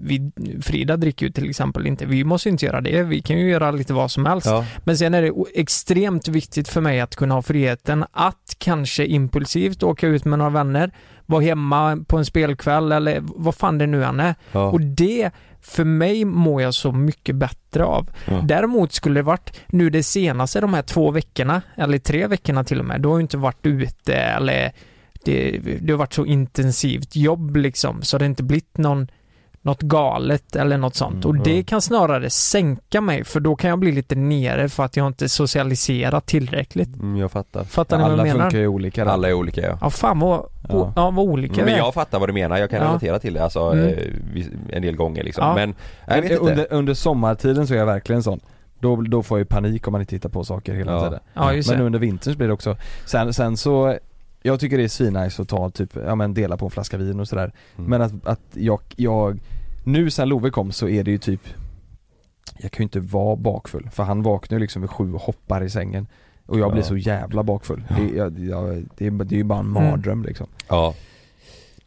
Speaker 2: vi Frida dricker ju till exempel inte, vi måste ju inte göra det, vi kan ju göra lite vad som helst.
Speaker 3: Ja.
Speaker 2: Men sen är det o- extremt viktigt för mig att kunna ha friheten att kanske impulsivt åka ut med några vänner, vara hemma på en spelkväll eller vad fan det nu än är.
Speaker 3: Ja.
Speaker 2: Och det, för mig mår jag så mycket bättre av.
Speaker 3: Ja.
Speaker 2: Däremot skulle det varit nu det senaste de här två veckorna, eller tre veckorna till och med, då har jag inte varit ute eller det, det har varit så intensivt jobb liksom så det har inte blivit någon något galet eller något sånt.
Speaker 1: Mm,
Speaker 2: och det kan snarare sänka mig för då kan jag bli lite nere för att jag inte socialiserat tillräckligt.
Speaker 3: Mm, jag fattar.
Speaker 2: Fattar ni vad
Speaker 1: Alla
Speaker 2: jag menar?
Speaker 1: funkar ju olika där.
Speaker 3: Alla är olika ja.
Speaker 2: Ja, fan vad,
Speaker 1: Ja.
Speaker 2: o- ja, vad olika vi
Speaker 3: Men
Speaker 2: är.
Speaker 3: jag fattar vad du menar, jag kan
Speaker 2: Ja.
Speaker 3: relatera till det alltså,
Speaker 2: Mm.
Speaker 3: eh, vis- en del gånger liksom.
Speaker 2: Ja.
Speaker 3: Men, jag vet
Speaker 1: Men
Speaker 3: inte.
Speaker 1: Äh, under, under sommartiden så är jag verkligen sån. Då, då får jag ju panik om man inte hittar på saker hela
Speaker 3: Ja.
Speaker 1: tiden.
Speaker 2: Ja, just
Speaker 1: Men
Speaker 2: det.
Speaker 1: under vintern så blir det också, sen, sen så jag tycker det är svinnice att ta typ, ja men dela på en flaska vin och sådär.
Speaker 3: Mm.
Speaker 1: Men att, att jag, jag, nu sen Love kom så är det ju typ Jag kan ju inte vara bakfull för han vaknar ju liksom vid sju och hoppar i sängen Och jag blir
Speaker 3: Ja.
Speaker 1: så jävla bakfull. Det, jag, jag, det, är, det är ju bara en
Speaker 2: Mm.
Speaker 1: mardröm liksom.
Speaker 3: Ja.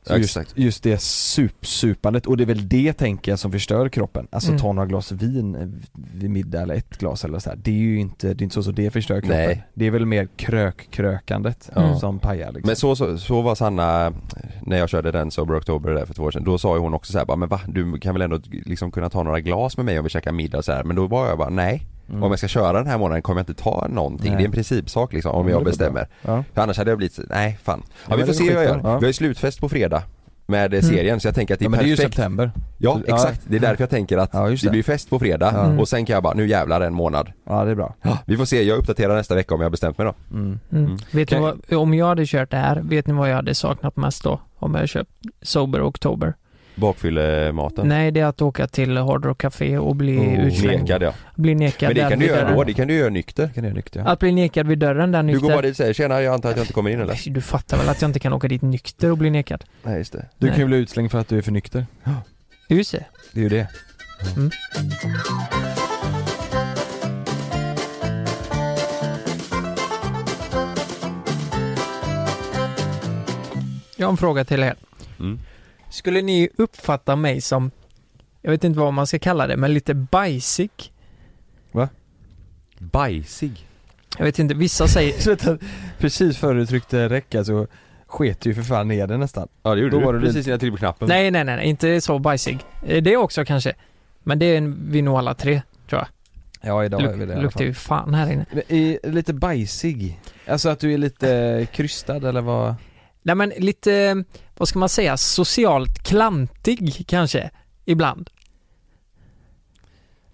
Speaker 1: Så just,
Speaker 3: Exakt.
Speaker 1: just det supsupandet och det är väl det tänker jag som förstör kroppen. Alltså
Speaker 2: Mm.
Speaker 1: ta några glas vin eh, vid middag eller ett glas eller så här. Det är ju inte, det är inte så, så det förstör kroppen.
Speaker 3: Nej.
Speaker 1: Det är väl mer krökkrökandet
Speaker 2: Ja.
Speaker 1: som pajar liksom.
Speaker 3: Men så, så, så var Sanna, eh, när jag körde den Sober October där för två år sedan, då sa ju hon också så här, bara, men va? Du kan väl ändå liksom kunna ta några glas med mig om vi käkar middag och så här. Men då var jag bara, nej.
Speaker 1: Mm.
Speaker 3: Om jag ska köra den här månaden kommer jag inte ta någonting.
Speaker 1: Nej.
Speaker 3: Det är en principsak liksom, om
Speaker 1: Ja,
Speaker 3: jag
Speaker 1: det är bra.
Speaker 3: bestämmer.
Speaker 1: ja.
Speaker 3: För annars hade jag blivit, så- nej fan. Ja,
Speaker 1: men
Speaker 3: vi
Speaker 1: det
Speaker 3: får
Speaker 1: är
Speaker 3: se hur jag gör.
Speaker 1: skitbra. Ja. Mm.
Speaker 3: Vi har ju slutfest på fredag med eh, serien så jag tänker att det är
Speaker 1: ja men det är ju
Speaker 3: perfekt.
Speaker 1: september.
Speaker 3: Ja
Speaker 1: Ja.
Speaker 3: exakt, det är därför jag tänker att
Speaker 1: Ja, just
Speaker 3: det
Speaker 1: det.
Speaker 3: blir fest på fredag
Speaker 1: Ja.
Speaker 3: och sen kan jag bara, nu jävlar en månad.
Speaker 1: Ja det är bra.
Speaker 3: Vi får se, jag uppdaterar nästa vecka om jag har bestämt mig då.
Speaker 1: Mm.
Speaker 2: Mm.
Speaker 3: Mm.
Speaker 2: Vet ni
Speaker 1: Kan-
Speaker 2: vad, om jag hade kört det här, vet ni vad jag hade saknat mest då? Om jag köpt Sober Oktober?
Speaker 3: Bakfyllematen.
Speaker 2: Nej, det är att åka till Hard Rock Café och bli
Speaker 1: Oh.
Speaker 2: utslängd.
Speaker 3: Nekad ja.
Speaker 2: Bli nekad
Speaker 3: Men det
Speaker 2: där
Speaker 3: kan du
Speaker 2: vid
Speaker 3: göra
Speaker 2: dörren.
Speaker 3: då, det kan du göra nykter.
Speaker 1: Kan det är nyktert.
Speaker 2: Att bli nekad vid dörren där
Speaker 3: Du
Speaker 2: nykter.
Speaker 3: går bara dit och säger tjena, jag antar att jag inte kommer in eller?
Speaker 2: Nej, Du fattar väl att jag inte kan åka dit nykter och bli nekad?
Speaker 3: Nej just det.
Speaker 1: Du kan ju
Speaker 2: Nej.
Speaker 1: bli utslängd för att du är för nykter.
Speaker 2: Just det.
Speaker 1: Det är ju det.
Speaker 2: Jag har en fråga till er.
Speaker 3: Mm.
Speaker 2: Skulle ni uppfatta mig som, jag vet inte vad man ska kalla det, men lite bajsig?
Speaker 3: Bajsig.
Speaker 2: Jag vet inte, vissa säger...
Speaker 1: Så vänta, Precis före du tryckte räcka så sket du ju för fan ner det nästan.
Speaker 3: Ja det gjorde
Speaker 1: Då
Speaker 3: du.
Speaker 1: var det
Speaker 3: precis
Speaker 1: lite-
Speaker 3: innan jag tryckte på knappen.
Speaker 2: nej, nej, nej, nej, inte så bajsig. Eh, Det också kanske. Men det är en- vi nog alla tre.
Speaker 1: Ja idag är vi det i
Speaker 2: Luk,
Speaker 1: alla
Speaker 2: luktar
Speaker 1: fall.
Speaker 2: ju fan här inne.
Speaker 1: Men Är lite bajsig? Alltså att du är lite krystad eller vad?
Speaker 2: Nej men lite, vad ska man säga, socialt klantig kanske, ibland.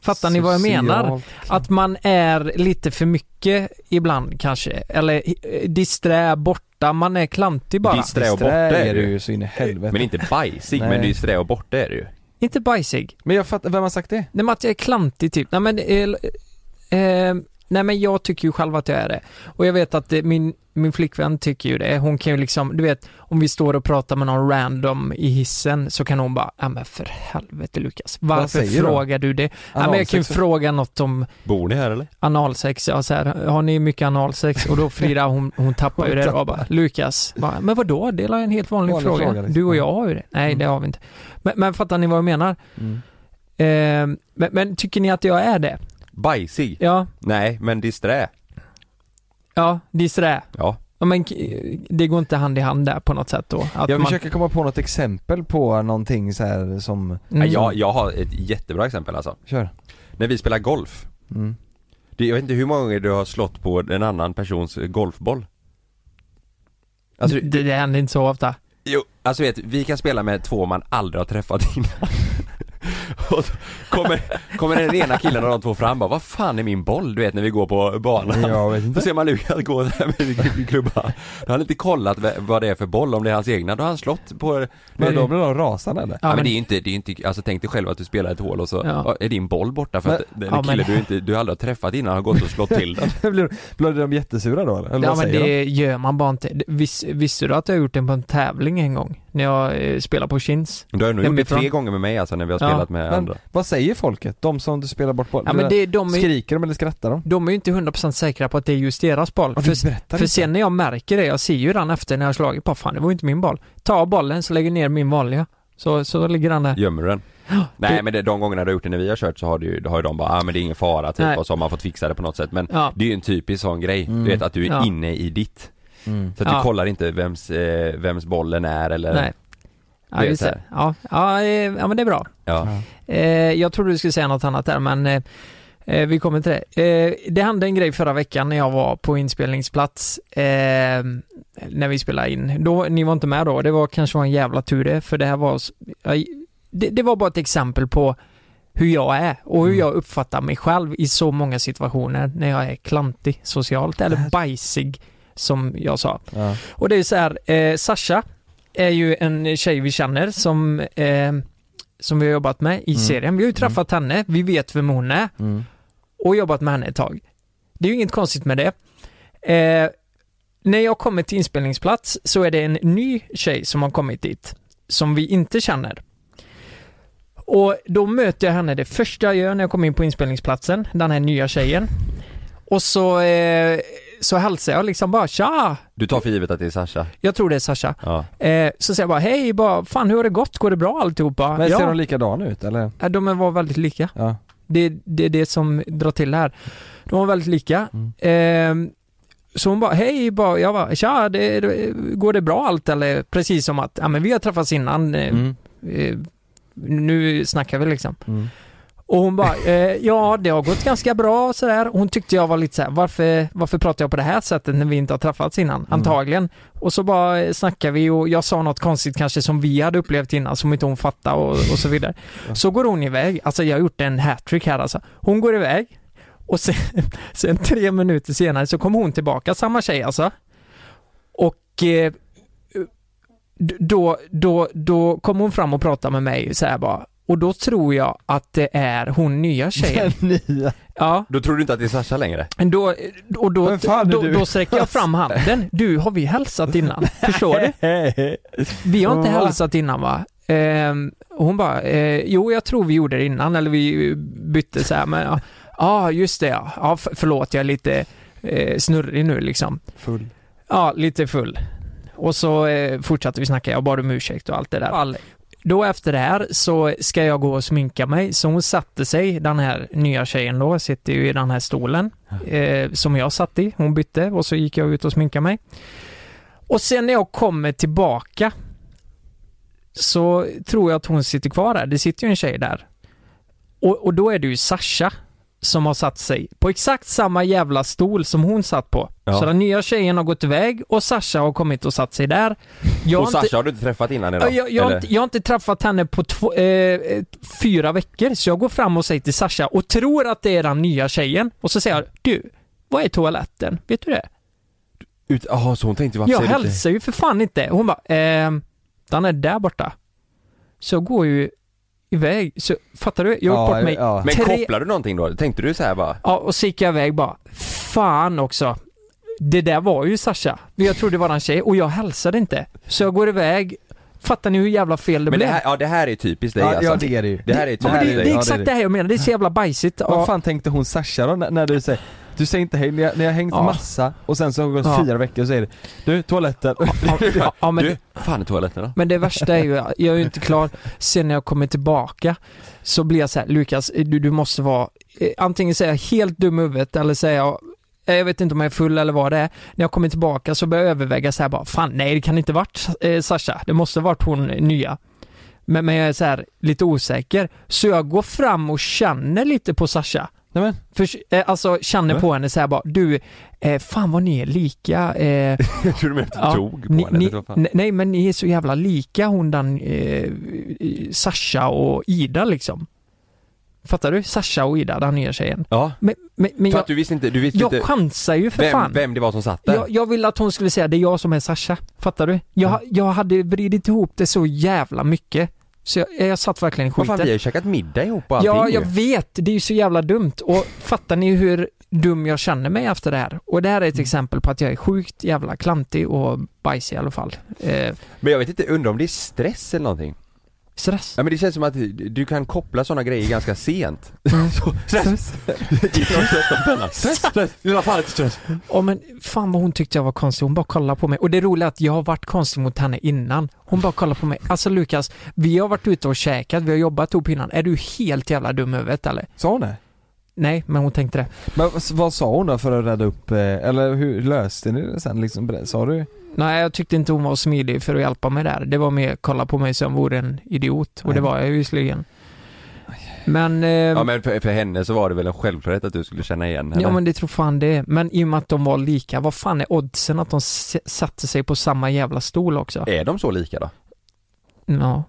Speaker 2: Fattar ni vad jag menar?
Speaker 1: Socialt.
Speaker 2: Att man är lite för mycket ibland kanske, eller eh, disträ, borta, man är klantig bara.
Speaker 3: Disträ och borta
Speaker 1: Disträ
Speaker 3: är
Speaker 1: är du
Speaker 3: du.
Speaker 1: ju så in i helvete.
Speaker 3: Men
Speaker 1: Men,
Speaker 3: inte bajsig,
Speaker 1: Nej.
Speaker 3: men du är strä och borta är du ju.
Speaker 2: Inte bajsig.
Speaker 1: jag fattar, vem har sagt det?
Speaker 2: Nej men att jag är klantig typ. Nej men, eh, eh, Nej men jag tycker ju själv att jag är det. Och jag vet att eh, min, min flickvän tycker ju det. Hon kan ju liksom, du vet, om vi står och pratar med någon random i hissen så kan hon bara, ja men för helvete Lukas, varför
Speaker 1: säger du?
Speaker 2: frågar du det? Ja, men jag kan ju
Speaker 1: Analsex.
Speaker 2: fråga något om
Speaker 3: Bor ni här eller?
Speaker 2: analsex, ja, så här, har ni mycket analsex? Och då Frida hon, hon tappar ju
Speaker 1: Hon
Speaker 2: det då
Speaker 1: tappar.
Speaker 2: bara, Lukas, bara, men vadå, det är en helt vanlig,
Speaker 1: Vanlig
Speaker 2: fråga.
Speaker 1: fråga, liksom.
Speaker 2: Du och jag har ju det. Nej
Speaker 1: Mm.
Speaker 2: det har vi inte. Men, men fattar ni vad jag menar? Eh, men, men tycker ni att jag är det?
Speaker 3: Bajsig?
Speaker 2: Ja,
Speaker 3: Nej, men disträ.
Speaker 2: ja, det är sådär.
Speaker 3: Ja.
Speaker 2: Ja, men k- det går inte hand i hand där på något sätt då? Att
Speaker 1: Jag
Speaker 2: man-
Speaker 1: försöker komma på något exempel på någonting så här som,
Speaker 2: Mm.
Speaker 3: Ja, Jag, jag har ett jättebra exempel alltså.
Speaker 1: kör.
Speaker 3: När vi spelar golf.
Speaker 1: Mm.
Speaker 3: Det, jag vet inte hur många gånger du har slått på en annan persons golfboll. Alltså, du-
Speaker 2: det, det händer inte så ofta.
Speaker 3: Jo, alltså vet, vi kan spela med två man aldrig har träffat innan. Och så kommer, kommer den ena killen av de två fram och bara, vad fan är min boll? Du vet när vi går på banan.
Speaker 1: Jag vet
Speaker 3: Då
Speaker 1: inte.
Speaker 3: ser man Lukas gå där med klubban. Då har han inte kollat vä- vad det är för boll, om det är hans egna. Då har han slått på... Ja,
Speaker 1: Men då blir de rasande eller?
Speaker 3: men det är ju inte, det är ju inte, alltså tänk dig själv att du spelar ett hål och så
Speaker 2: Ja.
Speaker 3: är din boll borta för att den
Speaker 2: ja,
Speaker 3: kille
Speaker 2: men-
Speaker 3: du inte, du aldrig har träffat innan har gått och slått till den.
Speaker 1: blir, blir de jättesura då eller? eller
Speaker 2: Ja
Speaker 1: vad
Speaker 2: men
Speaker 1: säger de?
Speaker 2: det gör man bara inte. Det- Vis, visste du att jag har gjort den på en tävling en gång? När jag eh, spelade på Kins?
Speaker 3: Du har nog gjort det
Speaker 2: Hemifrån.
Speaker 3: tre gånger med mig alltså när vi har
Speaker 2: Ja,
Speaker 3: spelat med
Speaker 1: Men
Speaker 3: andra.
Speaker 1: vad säger folket? De som du spelar bort bollen?
Speaker 2: Ja men det, de, är,
Speaker 1: Skriker de eller skrattar de?
Speaker 2: de är ju inte 100% säkra på att det är just deras boll.
Speaker 1: Ja, du
Speaker 2: För,
Speaker 1: berättar
Speaker 2: för
Speaker 1: inte.
Speaker 2: sen när jag märker det, jag ser ju den efter när jag har slagit på, fan det var ju inte min boll. Ta bollen så lägger jag ner min vanliga. Så, så ligger den där.
Speaker 3: Gömmer du den? Nej
Speaker 2: det-
Speaker 3: men det, de gångerna du har gjort det när vi har kört så har, det ju, då har ju de bara, ah men det är ingen fara typ
Speaker 2: Nej.
Speaker 3: och så har man fått fixa det på något sätt men
Speaker 2: Ja.
Speaker 3: det är ju en typisk sån grej,
Speaker 1: Mm.
Speaker 3: du vet att du är
Speaker 2: Ja.
Speaker 3: inne i ditt
Speaker 1: Mm.
Speaker 3: Så att du
Speaker 2: Ja.
Speaker 3: kollar inte vems, eh, vems bollen är eller
Speaker 2: Nej. Ja,
Speaker 3: Det är
Speaker 2: just
Speaker 3: så
Speaker 2: det. Ja, ja, eh, ja men det är bra.
Speaker 3: Ja.
Speaker 2: Eh, jag trodde du skulle säga något annat där men eh, eh, vi kommer till det. Eh, det hände en grej förra veckan när jag var på inspelningsplats eh, när vi spelade in. Då, ni var inte med då, det var kanske var en jävla tur det för det här var s- jag, det, det var bara ett exempel på hur jag är och hur jag uppfattar mig själv i så många situationer när jag är klantig socialt eller bajsig som jag sa.
Speaker 1: Ja.
Speaker 2: Och det är så här, eh, Sasha är ju en tjej vi känner som, eh, som vi har jobbat med i
Speaker 1: Mm.
Speaker 2: serien. Vi har ju träffat henne, vi vet vem hon är
Speaker 1: Mm.
Speaker 2: och jobbat med henne ett tag. Det är ju inget konstigt med det. Eh, när jag kommer till inspelningsplats så är det en ny tjej som har kommit dit, som vi inte känner. Och då möter jag henne det första jag gör när jag kommer in på inspelningsplatsen, den här nya tjejen. Och så, eh, så hälsar jag liksom bara tja!
Speaker 3: Du tar för givet att det är Sasha?
Speaker 2: Jag tror det är Sasha.
Speaker 3: Ja.
Speaker 2: Eh, så säger jag bara, hej, bara, fan hur har det gått? Går det bra alltihopa?
Speaker 1: Men ser
Speaker 2: ja,
Speaker 1: de likadana ut eller?
Speaker 2: Eh, de var väldigt lika.
Speaker 1: Ja.
Speaker 2: Det är det, är det som drar till här. De var väldigt lika.
Speaker 1: Mm.
Speaker 2: Eh, så hon bara, hej, bara, jag bara, tja, det, det, går det bra allt eller? Precis som att, ja men vi har träffats innan, eh,
Speaker 1: Mm.
Speaker 2: eh, nu snackar vi liksom.
Speaker 1: Mm.
Speaker 2: Och hon bara, eh, ja det har gått ganska bra och sådär. Hon tyckte jag var lite såhär, varför, varför pratar jag på det här sättet när vi inte har träffats innan? Antagligen. Och så bara eh, snackar vi och jag sa något konstigt kanske som vi hade upplevt innan som inte hon fattade och, och så vidare. Så går hon iväg, alltså jag har gjort en hattrick här alltså. Hon går iväg och sen, sen tre minuter senare så kom hon tillbaka, samma tjej alltså. Och eh, d- då, då, då kom hon fram och pratade med mig så här bara. Och då tror jag att det är hon nya tjejen.
Speaker 1: Nya.
Speaker 2: Ja,
Speaker 3: Då tror du inte att det är Sasha längre?
Speaker 2: då, och då,
Speaker 1: Vem fan är
Speaker 2: då,
Speaker 1: du?
Speaker 2: då sträcker jag fram handen. Du, har vi hälsat innan? Förstår du? Vi har inte
Speaker 1: Va?
Speaker 2: hälsat innan va? Ehm, och hon bara, eh, jo jag tror vi gjorde det innan, eller vi bytte så här, men ja, ah, just det ja. ja f- förlåt, jag är lite eh, snurrig nu liksom.
Speaker 1: Full.
Speaker 2: Ja, lite full. Och så eh, fortsatte vi snacka, jag bad om ursäkt och allt det där. Då efter det här så ska jag gå och sminka mig, så hon satte sig, den här nya tjejen då, sitter ju i den här stolen eh, som jag satt i. Hon bytte och så gick jag ut och sminkade mig. Och sen när jag kommer tillbaka så tror jag att hon sitter kvar där. Det sitter ju en tjej där. Och, och då är det ju Sasha som har satt sig på exakt samma jävla stol som hon satt på.
Speaker 3: Ja.
Speaker 2: Så den nya tjejen har gått iväg och Sasha har kommit och satt sig där. Jag
Speaker 3: och
Speaker 2: har inte-
Speaker 3: Sasha har du inte träffat innan idag?
Speaker 2: jag, jag, har
Speaker 3: Eller?
Speaker 2: inte, jag har inte träffat henne på två, eh, eh, fyra veckor, så jag går fram och säger till Sasha och tror att det är den nya tjejen. Och så säger jag, du, vad är toaletten? Vet du det?
Speaker 3: Ut, aha, så hon tänkte varför
Speaker 2: Jag
Speaker 3: säger du inte-
Speaker 2: hälsar ju för fan inte. Hon bara, ehm, den är där borta. Så jag går ju iväg, så fattar du? Jag har gjort
Speaker 1: Ja,
Speaker 2: bort mig.
Speaker 1: ja.
Speaker 3: Men
Speaker 2: tre-
Speaker 3: kopplar du någonting då? Tänkte du så här bara?
Speaker 2: Ja, och så gick jag iväg bara. fan också. Det där var ju Sasha. Men jag trodde det var en tjej och jag hälsade inte. Så jag går iväg. Fattar ni hur jävla fel det
Speaker 3: Men det
Speaker 2: blev?
Speaker 3: här, ja det här är typiskt dig
Speaker 1: Ja,
Speaker 3: alltså.
Speaker 1: ja det är det ju.
Speaker 3: Det här är
Speaker 2: Ja, men
Speaker 3: typiskt
Speaker 2: det, det
Speaker 3: dig.
Speaker 2: är exakt det här jag menar. Det är så jävla bajsigt.
Speaker 1: Vad
Speaker 2: Ja.
Speaker 1: fan tänkte hon Sasha då när, när du säger du säger inte hej, ni har, ni har hängt
Speaker 2: Ja.
Speaker 1: massa och sen så har det gått
Speaker 2: Ja.
Speaker 1: fyra veckor och säger du, du toaletten.
Speaker 2: Ja, ja, men,
Speaker 3: Du, fan i toaletten då?
Speaker 2: men det värsta är ju, jag är ju inte klar. Sen när jag kommer tillbaka så blir jag så här, Lukas, du, du måste vara, eh, antingen säga helt dum i huvudet eller säga eh, jag vet inte om jag är full eller vad det är. När jag kommer tillbaka så börjar jag överväga så här bara, fan nej det kan inte varit eh, Sasha, det måste varit hon eh, nya. Men, men jag är så här lite osäker. Så jag går fram och känner lite på Sasha.
Speaker 1: Nej men,
Speaker 2: För, eh, alltså känner på henne så här bara, du, eh, fan vad ni är lika. Eh,
Speaker 3: Jag tror du menade att
Speaker 2: Ja,
Speaker 3: du tog på
Speaker 2: ni,
Speaker 3: henne.
Speaker 2: ni,
Speaker 3: eller vad fan.
Speaker 2: ne- nej men ni är så jävla lika hon den eh, Sasha och Ida liksom. Fattar du? Sasha och Ida, den nya tjejen.
Speaker 3: Ja,
Speaker 2: Men, men, men
Speaker 3: för
Speaker 2: jag,
Speaker 3: att du visste inte, du visste
Speaker 2: jag
Speaker 3: inte
Speaker 2: chansar ju för
Speaker 3: vem,
Speaker 2: fan.
Speaker 3: vem det var som satt där.
Speaker 2: Jag, jag ville att hon skulle säga det är jag som är Sasha. Fattar du? Jag, jag hade vridit ihop det så jävla mycket. Så jag, jag satt verkligen i
Speaker 3: Vad
Speaker 2: skiten.
Speaker 3: fan vi har ju käkat middag ihop och allting
Speaker 2: Ja,
Speaker 3: ju.
Speaker 2: jag vet. Det är ju så jävla dumt. Och fattar ni hur dum jag känner mig efter det här? Och det här är
Speaker 3: Mm.
Speaker 2: ett exempel på att jag är sjukt jävla klantig och bajsig i alla fall. Eh,
Speaker 3: Men jag vet inte, undrar om det är stress eller någonting?
Speaker 2: stress.
Speaker 3: Ja men det känns som att du kan koppla sådana grejer ganska sent. Så, stress! Stress! Stress! Det är fan inte stress!
Speaker 2: Ja men fan vad hon tyckte jag var konstig, hon bara kollade på mig. Och det roliga är att jag har varit konstig mot henne innan. Hon bara kollade på mig. Alltså Lukas, vi har varit ute och käkat, vi har jobbat ihop innan. Är du helt jävla dum i huvudet eller?
Speaker 1: sa hon det?
Speaker 2: Nej, men hon tänkte det.
Speaker 1: Men vad- vad sa hon då för att rädda upp, eh, eller hur löste ni det sen liksom? Ber- Sa du?
Speaker 2: Nej, jag tyckte inte hon var smidig för att hjälpa mig där. Det var mer kolla på mig som vore en idiot. Och det var jag ju visserligen. Men... Eh,
Speaker 3: Ja men för, för henne så var det väl en självklarhet att du skulle känna igen henne?
Speaker 2: Ja men det tror fan det. Men i och med att de var lika, vad fan är oddsen att de s- satte sig på samma jävla stol också?
Speaker 3: Är de så lika då?
Speaker 2: Ja.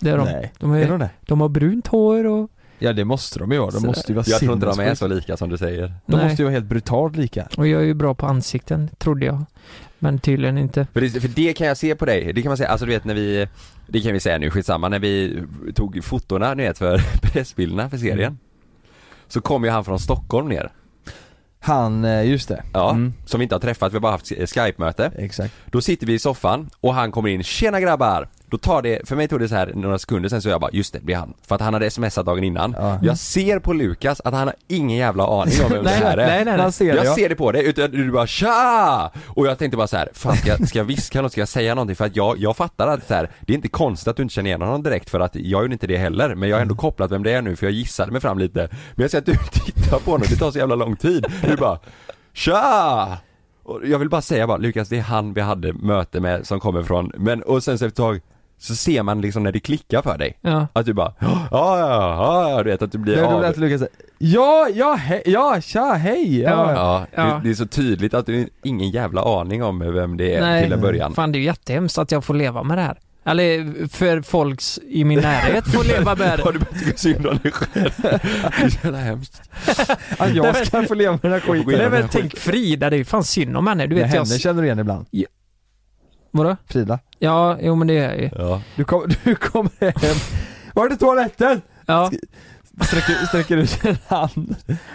Speaker 2: Det är de.
Speaker 1: Nej.
Speaker 2: De,
Speaker 1: Är
Speaker 2: är,
Speaker 1: hon det?
Speaker 2: de har brunt hår och...
Speaker 1: Ja det måste de ju vara, de
Speaker 2: Sådär.
Speaker 1: måste ju vara
Speaker 3: Jag tror inte de är
Speaker 1: sinnessjuka.
Speaker 3: så lika som du säger.
Speaker 1: De
Speaker 2: nej.
Speaker 1: måste ju vara helt brutalt lika.
Speaker 2: Och jag är ju bra på ansikten, trodde jag. Men tydligen inte.
Speaker 3: För det, för det kan jag se på dig, det kan man säga, alltså du vet när vi, det kan vi säga nu, skitsamma, när vi tog fotona ni vet för pressbilderna för
Speaker 2: Mm.
Speaker 3: serien. Så kom ju han från Stockholm ner,
Speaker 1: Han, eh, just det.
Speaker 3: ja,
Speaker 1: Mm,
Speaker 3: som vi inte har träffat, vi har bara haft skype-möte.
Speaker 1: exakt.
Speaker 3: Då sitter vi i soffan och han kommer in, tjena grabbar! Då tar det, för mig tog det så här några sekunder sen så jag bara, just det, det är han. För att han hade smsat dagen innan.
Speaker 1: Ja.
Speaker 3: Jag ser på Lukas att han har ingen jävla aning om vem det
Speaker 2: Nej,
Speaker 3: här är.
Speaker 2: nej, nej, nej.
Speaker 1: Man ser det,
Speaker 3: jag
Speaker 1: ja.
Speaker 3: ser det på dig, utan du bara tja! Och jag tänkte bara så här, fan ska, jag- ska jag viska något, ska jag säga någonting? För att jag, jag fattar att så här, det är inte konstigt att du inte känner igen honom direkt för att jag gjorde inte det heller. Men jag har ändå kopplat vem det är nu för jag gissade mig fram lite. Men jag ser att du tittar på honom, det tar så jävla lång tid. Du bara tja! Och jag vill bara säga bara, Lukas det är han vi hade möte med som kommer från, men och sen så efter ett tag så ser man liksom när det klickar för dig.
Speaker 2: Ja.
Speaker 3: Att du bara, ja ja, ja ja, du vet att du
Speaker 1: Det
Speaker 3: blir
Speaker 1: är
Speaker 3: av.
Speaker 1: roligt att Lukas säger Ja, ja, hej, ja, tja, hej! Ja.
Speaker 3: Ja,
Speaker 2: Ja.
Speaker 3: Det, det är så tydligt att du har ingen jävla aning om vem det är
Speaker 2: Nej.
Speaker 3: till en början.
Speaker 2: Fan det är ju jättehemskt att jag får leva med det här. Eller för folks i min närhet får leva med det.
Speaker 3: Har du börjat tycka synd om dig själv? Det är så jävla hemskt.
Speaker 1: Att
Speaker 2: Nej,
Speaker 1: jag
Speaker 2: men-
Speaker 1: ska få leva med den här skiten.
Speaker 2: Nej men tänk Frida, det är ju fan synd om henne. Du
Speaker 1: Men
Speaker 2: vet jag...
Speaker 1: henne känner du igen ibland,
Speaker 2: Vadå?
Speaker 1: Frida.
Speaker 2: Ja, jo men det är jag ju.
Speaker 3: Ja.
Speaker 1: Du kommer du kom hem, var är toaletten?
Speaker 2: Ja.
Speaker 1: Sträcker, sträcker ut en hand.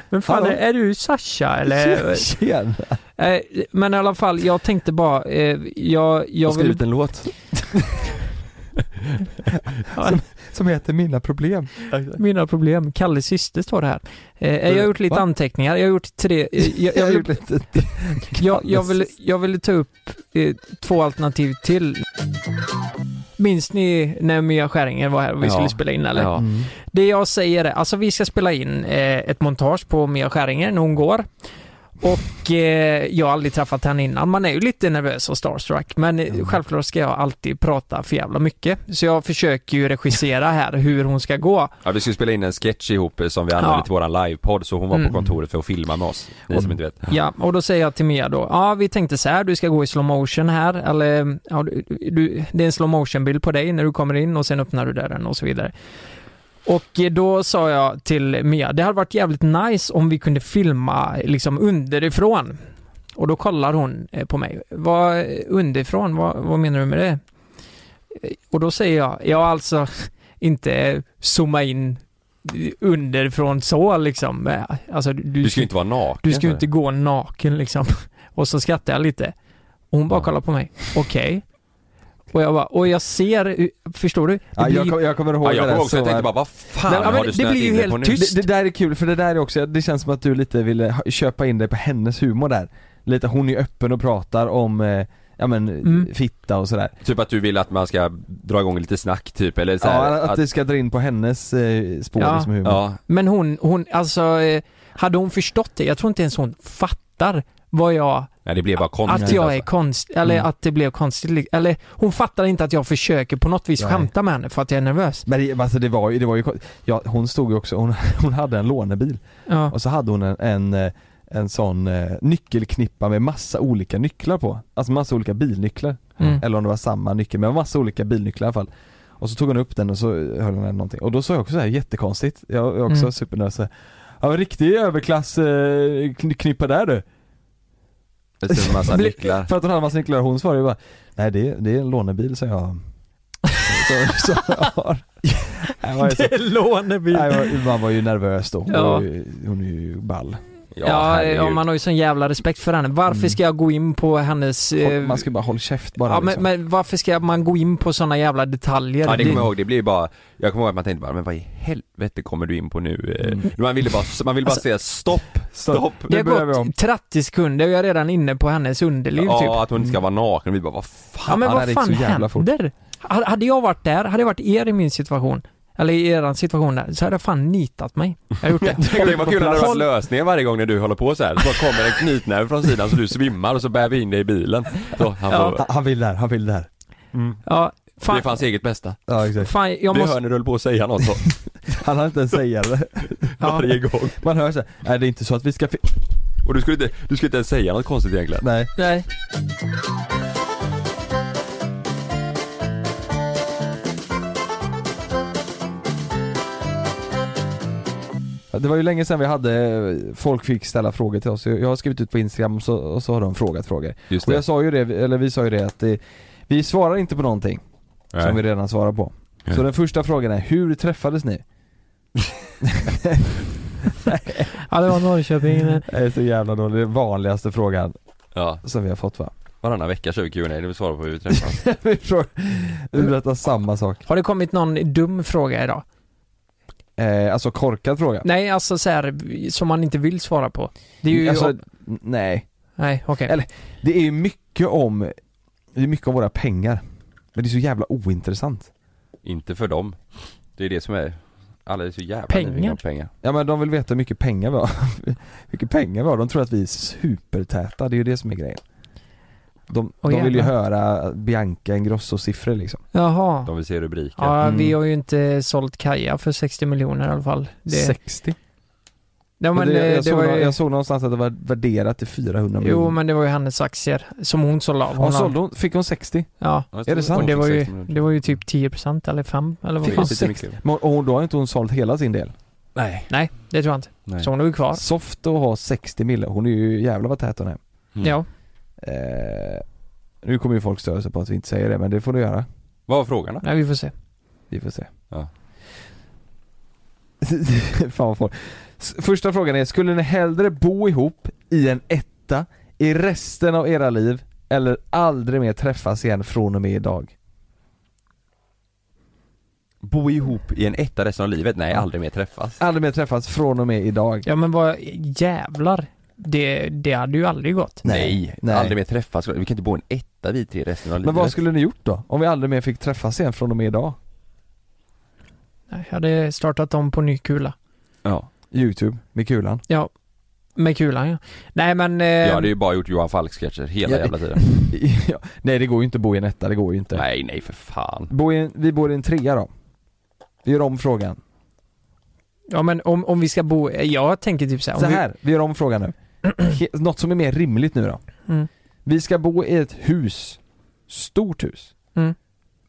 Speaker 2: Men fan,
Speaker 1: Hallå?
Speaker 2: är, är du Sasha eller?
Speaker 1: Tjena!
Speaker 2: Eh, men i alla fall, jag tänkte bara, eh, jag,
Speaker 3: Jag
Speaker 2: jag
Speaker 3: har skrivit
Speaker 2: vill...
Speaker 3: en låt.
Speaker 1: Som heter Mina Problem.
Speaker 2: Mina problem, Kalles syster står det här. Eh, jag har gjort lite
Speaker 1: Va?
Speaker 2: anteckningar, jag har gjort tre, eh, jag, jag,
Speaker 1: har
Speaker 2: vill,
Speaker 1: gjort lite
Speaker 2: jag, jag, vill, jag ville ta upp eh, två alternativ till. Minns ni när Mia Skäringer var här och vi
Speaker 3: Ja.
Speaker 2: skulle spela in eller?
Speaker 3: Ja.
Speaker 1: Mm.
Speaker 2: Det jag säger är, alltså vi ska spela in eh, ett montage på Mia Skäringer när hon går. Och eh, jag har aldrig träffat henne innan. Man är ju lite nervös och starstruck. Men eh, självklart ska jag alltid prata för jävla mycket. Så jag försöker ju regissera här hur hon ska gå.
Speaker 3: ja, vi skulle spela in en sketch ihop eh, som vi använde
Speaker 2: Ja.
Speaker 3: till våran livepodd så hon var på
Speaker 2: Mm.
Speaker 3: kontoret för att filma med oss. Ni som inte vet.
Speaker 2: Ja, och då säger jag till Mia då, ja vi tänkte så här, du ska gå i slow motion här, eller ja, du, du, det är en slow motion bild på dig när du kommer in och sen öppnar du dörren och så vidare. Och eh, då sa jag till Mia, det hade varit jävligt nice om vi kunde filma eh, liksom underifrån. Och då kollar hon eh, på mig, vad eh, underifrån, vad, vad menar du med det? Eh, Och då säger jag, ja alltså inte zooma in underifrån så liksom. Eh, Alltså, du,
Speaker 3: Du ska ju inte vara naken.
Speaker 2: du ska ju
Speaker 3: så.
Speaker 2: inte gå naken liksom. Och så skrattar jag lite. Och hon bara
Speaker 3: Ja.
Speaker 2: kollar på mig. Okej. Och jag bara, och jag ser, förstår du? Det
Speaker 1: Ja,
Speaker 2: blir
Speaker 1: jag,
Speaker 2: ju-
Speaker 1: kom- jag kommer ihåg
Speaker 3: Ja,
Speaker 1: det
Speaker 3: jag
Speaker 1: där
Speaker 3: kommer också,
Speaker 1: så
Speaker 3: jag tänkte
Speaker 1: väl.
Speaker 3: bara vad
Speaker 2: Nej,
Speaker 3: fan
Speaker 2: ja, men
Speaker 3: har du
Speaker 2: det
Speaker 3: snöat
Speaker 2: blir ju
Speaker 3: in dig
Speaker 2: helt
Speaker 3: på nu?
Speaker 2: tyst.
Speaker 1: Det, det där är kul för det där är också, det känns som att du lite ville ha- köpa in dig på hennes humor där. Lite, hon är öppen och pratar om, eh, ja men,
Speaker 2: Mm.
Speaker 1: fitta och sådär.
Speaker 3: Typ att du vill att man ska dra igång lite snack typ eller så
Speaker 1: Ja,
Speaker 3: här,
Speaker 1: att, att det ska dra in på hennes eh, spår
Speaker 2: Ja.
Speaker 1: liksom humor.
Speaker 3: ja,
Speaker 2: Men hon, hon, alltså, eh, hade hon förstått det? Jag tror inte ens hon fattar vad jag,
Speaker 3: nej det blev bara konstigt
Speaker 2: att jag är
Speaker 3: alltså.
Speaker 2: konst, eller
Speaker 1: Mm.
Speaker 2: att det blev konstigt. li- Eller hon fattar inte att jag försöker på något vis
Speaker 1: Nej.
Speaker 2: skämta med henne för att jag är nervös.
Speaker 1: Men det, alltså det var ju, det var ju kon- ja, hon stod ju också, hon, hon hade en lånebil
Speaker 2: Ja.
Speaker 1: och så hade hon en, en, eh, en sån eh, nyckelknippa med massa olika nycklar på. Alltså massa olika bilnycklar.
Speaker 2: Mm.
Speaker 1: Eller om det var samma nyckel, men massa olika bilnycklar i alla fall. Och så tog hon upp den och så höll hon den någonting. Och då sa jag också så här jättekonstigt, jag är också
Speaker 2: Mm.
Speaker 1: supernös så här, Ja men riktig överklass eh, kn- knippa där du.
Speaker 3: Det är en massa
Speaker 1: Bli-
Speaker 3: nycklar.
Speaker 1: För att hon hade massa nycklar och hon svarade ju bara Nej det, är- det är en lånebil som jag som, som jag har. Jag var ju så-
Speaker 2: Det är lånebil.
Speaker 1: Nej, jag var- man var ju nervös då, hon,
Speaker 2: Ja.
Speaker 1: var ju, hon är ju ball.
Speaker 2: Ja,
Speaker 3: herregud.
Speaker 2: ja, man har ju sån jävla respekt för henne. Varför
Speaker 1: Mm.
Speaker 2: ska jag gå in på hennes... eh,
Speaker 1: Man ska bara hålla käft bara
Speaker 2: ja, men,
Speaker 1: liksom.
Speaker 2: men varför ska man gå in på såna jävla detaljer?
Speaker 3: Ja det kommer jag ihåg, det blir ju bara, jag kommer ihåg att man tänkte bara men vad i helvete kommer du in på nu? Eh,
Speaker 1: Mm.
Speaker 3: Man ville bara, man ville bara
Speaker 2: Alltså,
Speaker 3: säga stopp, stopp!
Speaker 2: det
Speaker 1: nu
Speaker 2: har
Speaker 1: börjar vi om.
Speaker 2: gått 30 sekunder och jag är redan inne på hennes underliv
Speaker 3: Ja,
Speaker 2: typ.
Speaker 3: att hon inte ska vara naken, vi bara vad fan?
Speaker 2: Ja men
Speaker 1: Ja, det
Speaker 2: vad
Speaker 1: gick
Speaker 2: fan
Speaker 1: så jävla fort.
Speaker 2: händer? H- Hade jag varit där, hade jag varit er i min situation, eller i eran situation där, så hade jag fan nitat mig. Jag hade gjort det.
Speaker 3: Det var kul när det var
Speaker 2: Håll-
Speaker 3: lösningar varje gång när du håller på så här. så bara kommer en knytnäve från sidan så du svimmar och så bär vi in dig i bilen. Så, han får,
Speaker 1: Han- Han vill där, han vill där.
Speaker 2: Ja,
Speaker 3: Det
Speaker 2: fan,
Speaker 3: är för hans eget bästa.
Speaker 1: Ja, exakt.
Speaker 2: fan jag
Speaker 3: Vi
Speaker 2: måste...
Speaker 3: hör när du höll på att säga något så,
Speaker 1: Han hann inte ens säga det.
Speaker 2: Ja,
Speaker 3: varje gång.
Speaker 1: Man hör såhär, nej det är inte så att vi ska fi-"
Speaker 3: Och du skulle inte, du skulle inte ens säga något konstigt egentligen.
Speaker 1: Nej.
Speaker 2: nej.
Speaker 1: Det var ju länge sedan vi hade, folk fick ställa frågor till oss. Jag har skrivit ut på Instagram och så, och så har de frågat frågor.
Speaker 3: Just
Speaker 1: Och jag sa ju det, eller vi sa ju det att det, vi svarar inte på någonting som vi
Speaker 3: Nej.
Speaker 1: redan svarar på. Så
Speaker 3: Nej.
Speaker 1: den första frågan är, hur träffades ni?
Speaker 2: Ja, det var Norrköping. men-
Speaker 1: Det är så jävla dåligt, det är den vanligaste frågan
Speaker 3: Ja,
Speaker 1: som vi har fått va?
Speaker 3: varannan vecka kör vi Q&A, det vill svara på hur vi träffas.
Speaker 1: Vi frågar- vi berättar samma sak.
Speaker 2: Har det kommit någon dum fråga idag?
Speaker 1: Eh, alltså korkad fråga?
Speaker 2: Nej, alltså så här, som man inte vill svara på. Det är ju...
Speaker 1: alltså, nej.
Speaker 2: nej, okej.
Speaker 1: Eller- Det är ju mycket om, det är mycket om våra pengar. Men det är så jävla ointressant.
Speaker 3: inte för dem. Det är det som är, alla är så jävla
Speaker 2: Pengar.
Speaker 3: nyfikna på pengar.
Speaker 1: Ja men de vill veta hur mycket pengar vi har. Hur mycket pengar vi har. De tror att vi är supertäta, det är ju det som är grejen. De,
Speaker 2: Åh,
Speaker 1: de vill ju
Speaker 2: jävlar.
Speaker 1: höra Bianca Ingrosso-siffror liksom.
Speaker 2: Jaha.
Speaker 3: De vill se rubriker.
Speaker 2: Ja,
Speaker 1: Mm.
Speaker 2: vi har ju inte sålt Kaja för 60 miljoner i alla fall. Det,
Speaker 1: 60.
Speaker 2: nej, men,
Speaker 1: Och det, jag,
Speaker 2: det
Speaker 1: såg,
Speaker 2: var
Speaker 1: nå-
Speaker 2: ju,
Speaker 1: jag såg någonstans att det var värderat till 400 miljoner.
Speaker 2: Jo, men det var ju hennes aktier som hon sålde av.
Speaker 1: hon
Speaker 2: har-
Speaker 1: sålde hon, fick hon 60?
Speaker 2: Ja.
Speaker 3: Ja,
Speaker 1: Är det sant?
Speaker 2: Och det var ju,
Speaker 3: 60 miljoner.
Speaker 2: det var ju typ 10% eller 5 eller vad
Speaker 1: Fick
Speaker 2: fan.
Speaker 1: hon 60? Men, och då har inte hon sålt hela sin del.
Speaker 3: Nej.
Speaker 2: Nej, det tror jag inte.
Speaker 3: Nej.
Speaker 2: Så hon är ju kvar.
Speaker 1: Soft att ha 60 mille, hon är ju jävla vad tät hon är.
Speaker 3: Mm.
Speaker 2: Ja.
Speaker 1: Eh, nu kommer ju folk störa sig på att vi inte säger det, men det får du göra.
Speaker 3: Vad var frågan då?
Speaker 2: Nej, vi får se.
Speaker 1: Vi får se.
Speaker 3: Ja.
Speaker 1: Fan vad folk. S- Första frågan är, skulle ni hellre bo ihop i en etta i resten av era liv eller aldrig mer träffas igen från och med idag?
Speaker 3: Bo ihop i en etta resten av livet? Nej, aldrig mer träffas.
Speaker 1: Aldrig mer träffas från och med idag.
Speaker 2: Ja, men vad jävlar. Det, det hade ju aldrig gått.
Speaker 1: Nej, nej.
Speaker 3: Aldrig mer träffas. Vi kan inte bo i en etta vi tre resten av livet.
Speaker 1: Men vad skulle ni gjort då? Om vi aldrig mer fick träffas igen från och med idag?
Speaker 2: Jag hade startat om på ny kula.
Speaker 3: Ja.
Speaker 1: Youtube, med kulan.
Speaker 2: Ja. Med kulan ja. Nej men... Eh,
Speaker 3: Jag hade ju bara gjort Johan Falk-sketcher hela
Speaker 1: Ja, det-
Speaker 3: jävla tiden.
Speaker 1: Ja, nej det går ju inte att bo i en etta, det går ju inte.
Speaker 3: Nej, nej för fan.
Speaker 1: Bo i en, vi bor i en trea då. Vi gör om frågan.
Speaker 2: Ja men om, om vi ska bo... Jag tänker typ så här. om
Speaker 1: Så här, vi gör om frågan nu. He- Något som är mer rimligt nu då.
Speaker 2: Vi, mm,
Speaker 1: Vi ska bo i ett hus, stort hus,
Speaker 2: Mm.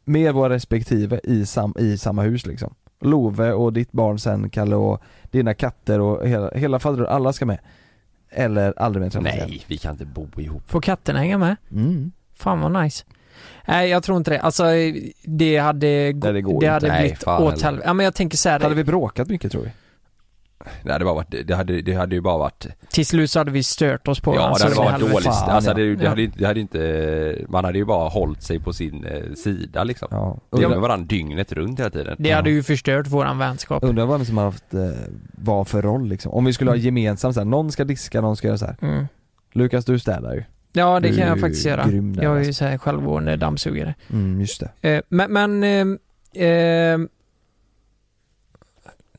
Speaker 1: med våra respektive i, sam, i samma hus liksom. Love och ditt barn sen, Kalle och dina katter och hela, hela faderullan, alla ska med. Eller aldrig mer träffas igen.
Speaker 3: Nej, vi kan inte bo ihop.
Speaker 2: får katterna hänga med?
Speaker 1: Mm.
Speaker 2: Fan vad nice. Nej jag tror inte det. Alltså det hade, gå-
Speaker 1: Nej, det går
Speaker 2: det
Speaker 1: ju
Speaker 2: hade
Speaker 3: inte. Nej,
Speaker 2: blivit
Speaker 3: fan
Speaker 2: åt
Speaker 3: heller.
Speaker 2: helvete. Ja men jag tänker så här,
Speaker 1: Hade vi bråkat mycket tror vi?
Speaker 3: Det hade bara varit, det hade, det hade ju bara varit
Speaker 2: till slut så hade vi stört oss på
Speaker 3: Ja
Speaker 2: varandra,
Speaker 3: det
Speaker 2: så
Speaker 3: hade varit
Speaker 2: helvete.
Speaker 3: dåligt,
Speaker 1: Fan,
Speaker 3: alltså det,
Speaker 2: ja.
Speaker 3: det, hade, ju- det hade ju inte, man hade ju bara hållit sig på sin eh, sida liksom
Speaker 1: Ja.
Speaker 3: Undrar
Speaker 1: Undrar,
Speaker 3: varandra dygnet runt hela tiden
Speaker 2: Det hade ju förstört våran vänskap.
Speaker 1: undrar vad som har haft, eh, vad för roll liksom. Om vi skulle ha gemensamt såhär, någon ska diska, någon ska göra så här.
Speaker 2: Mm.
Speaker 1: Lukas du städar ju.
Speaker 2: Ja det
Speaker 1: Du
Speaker 2: kan
Speaker 1: är
Speaker 2: jag
Speaker 1: ju
Speaker 2: faktiskt göra.
Speaker 1: grym där,
Speaker 2: Jag är ju
Speaker 1: alltså.
Speaker 2: så här självgående dammsugare.
Speaker 1: Mm, just det.
Speaker 2: Eh, men, men ehm, ehm,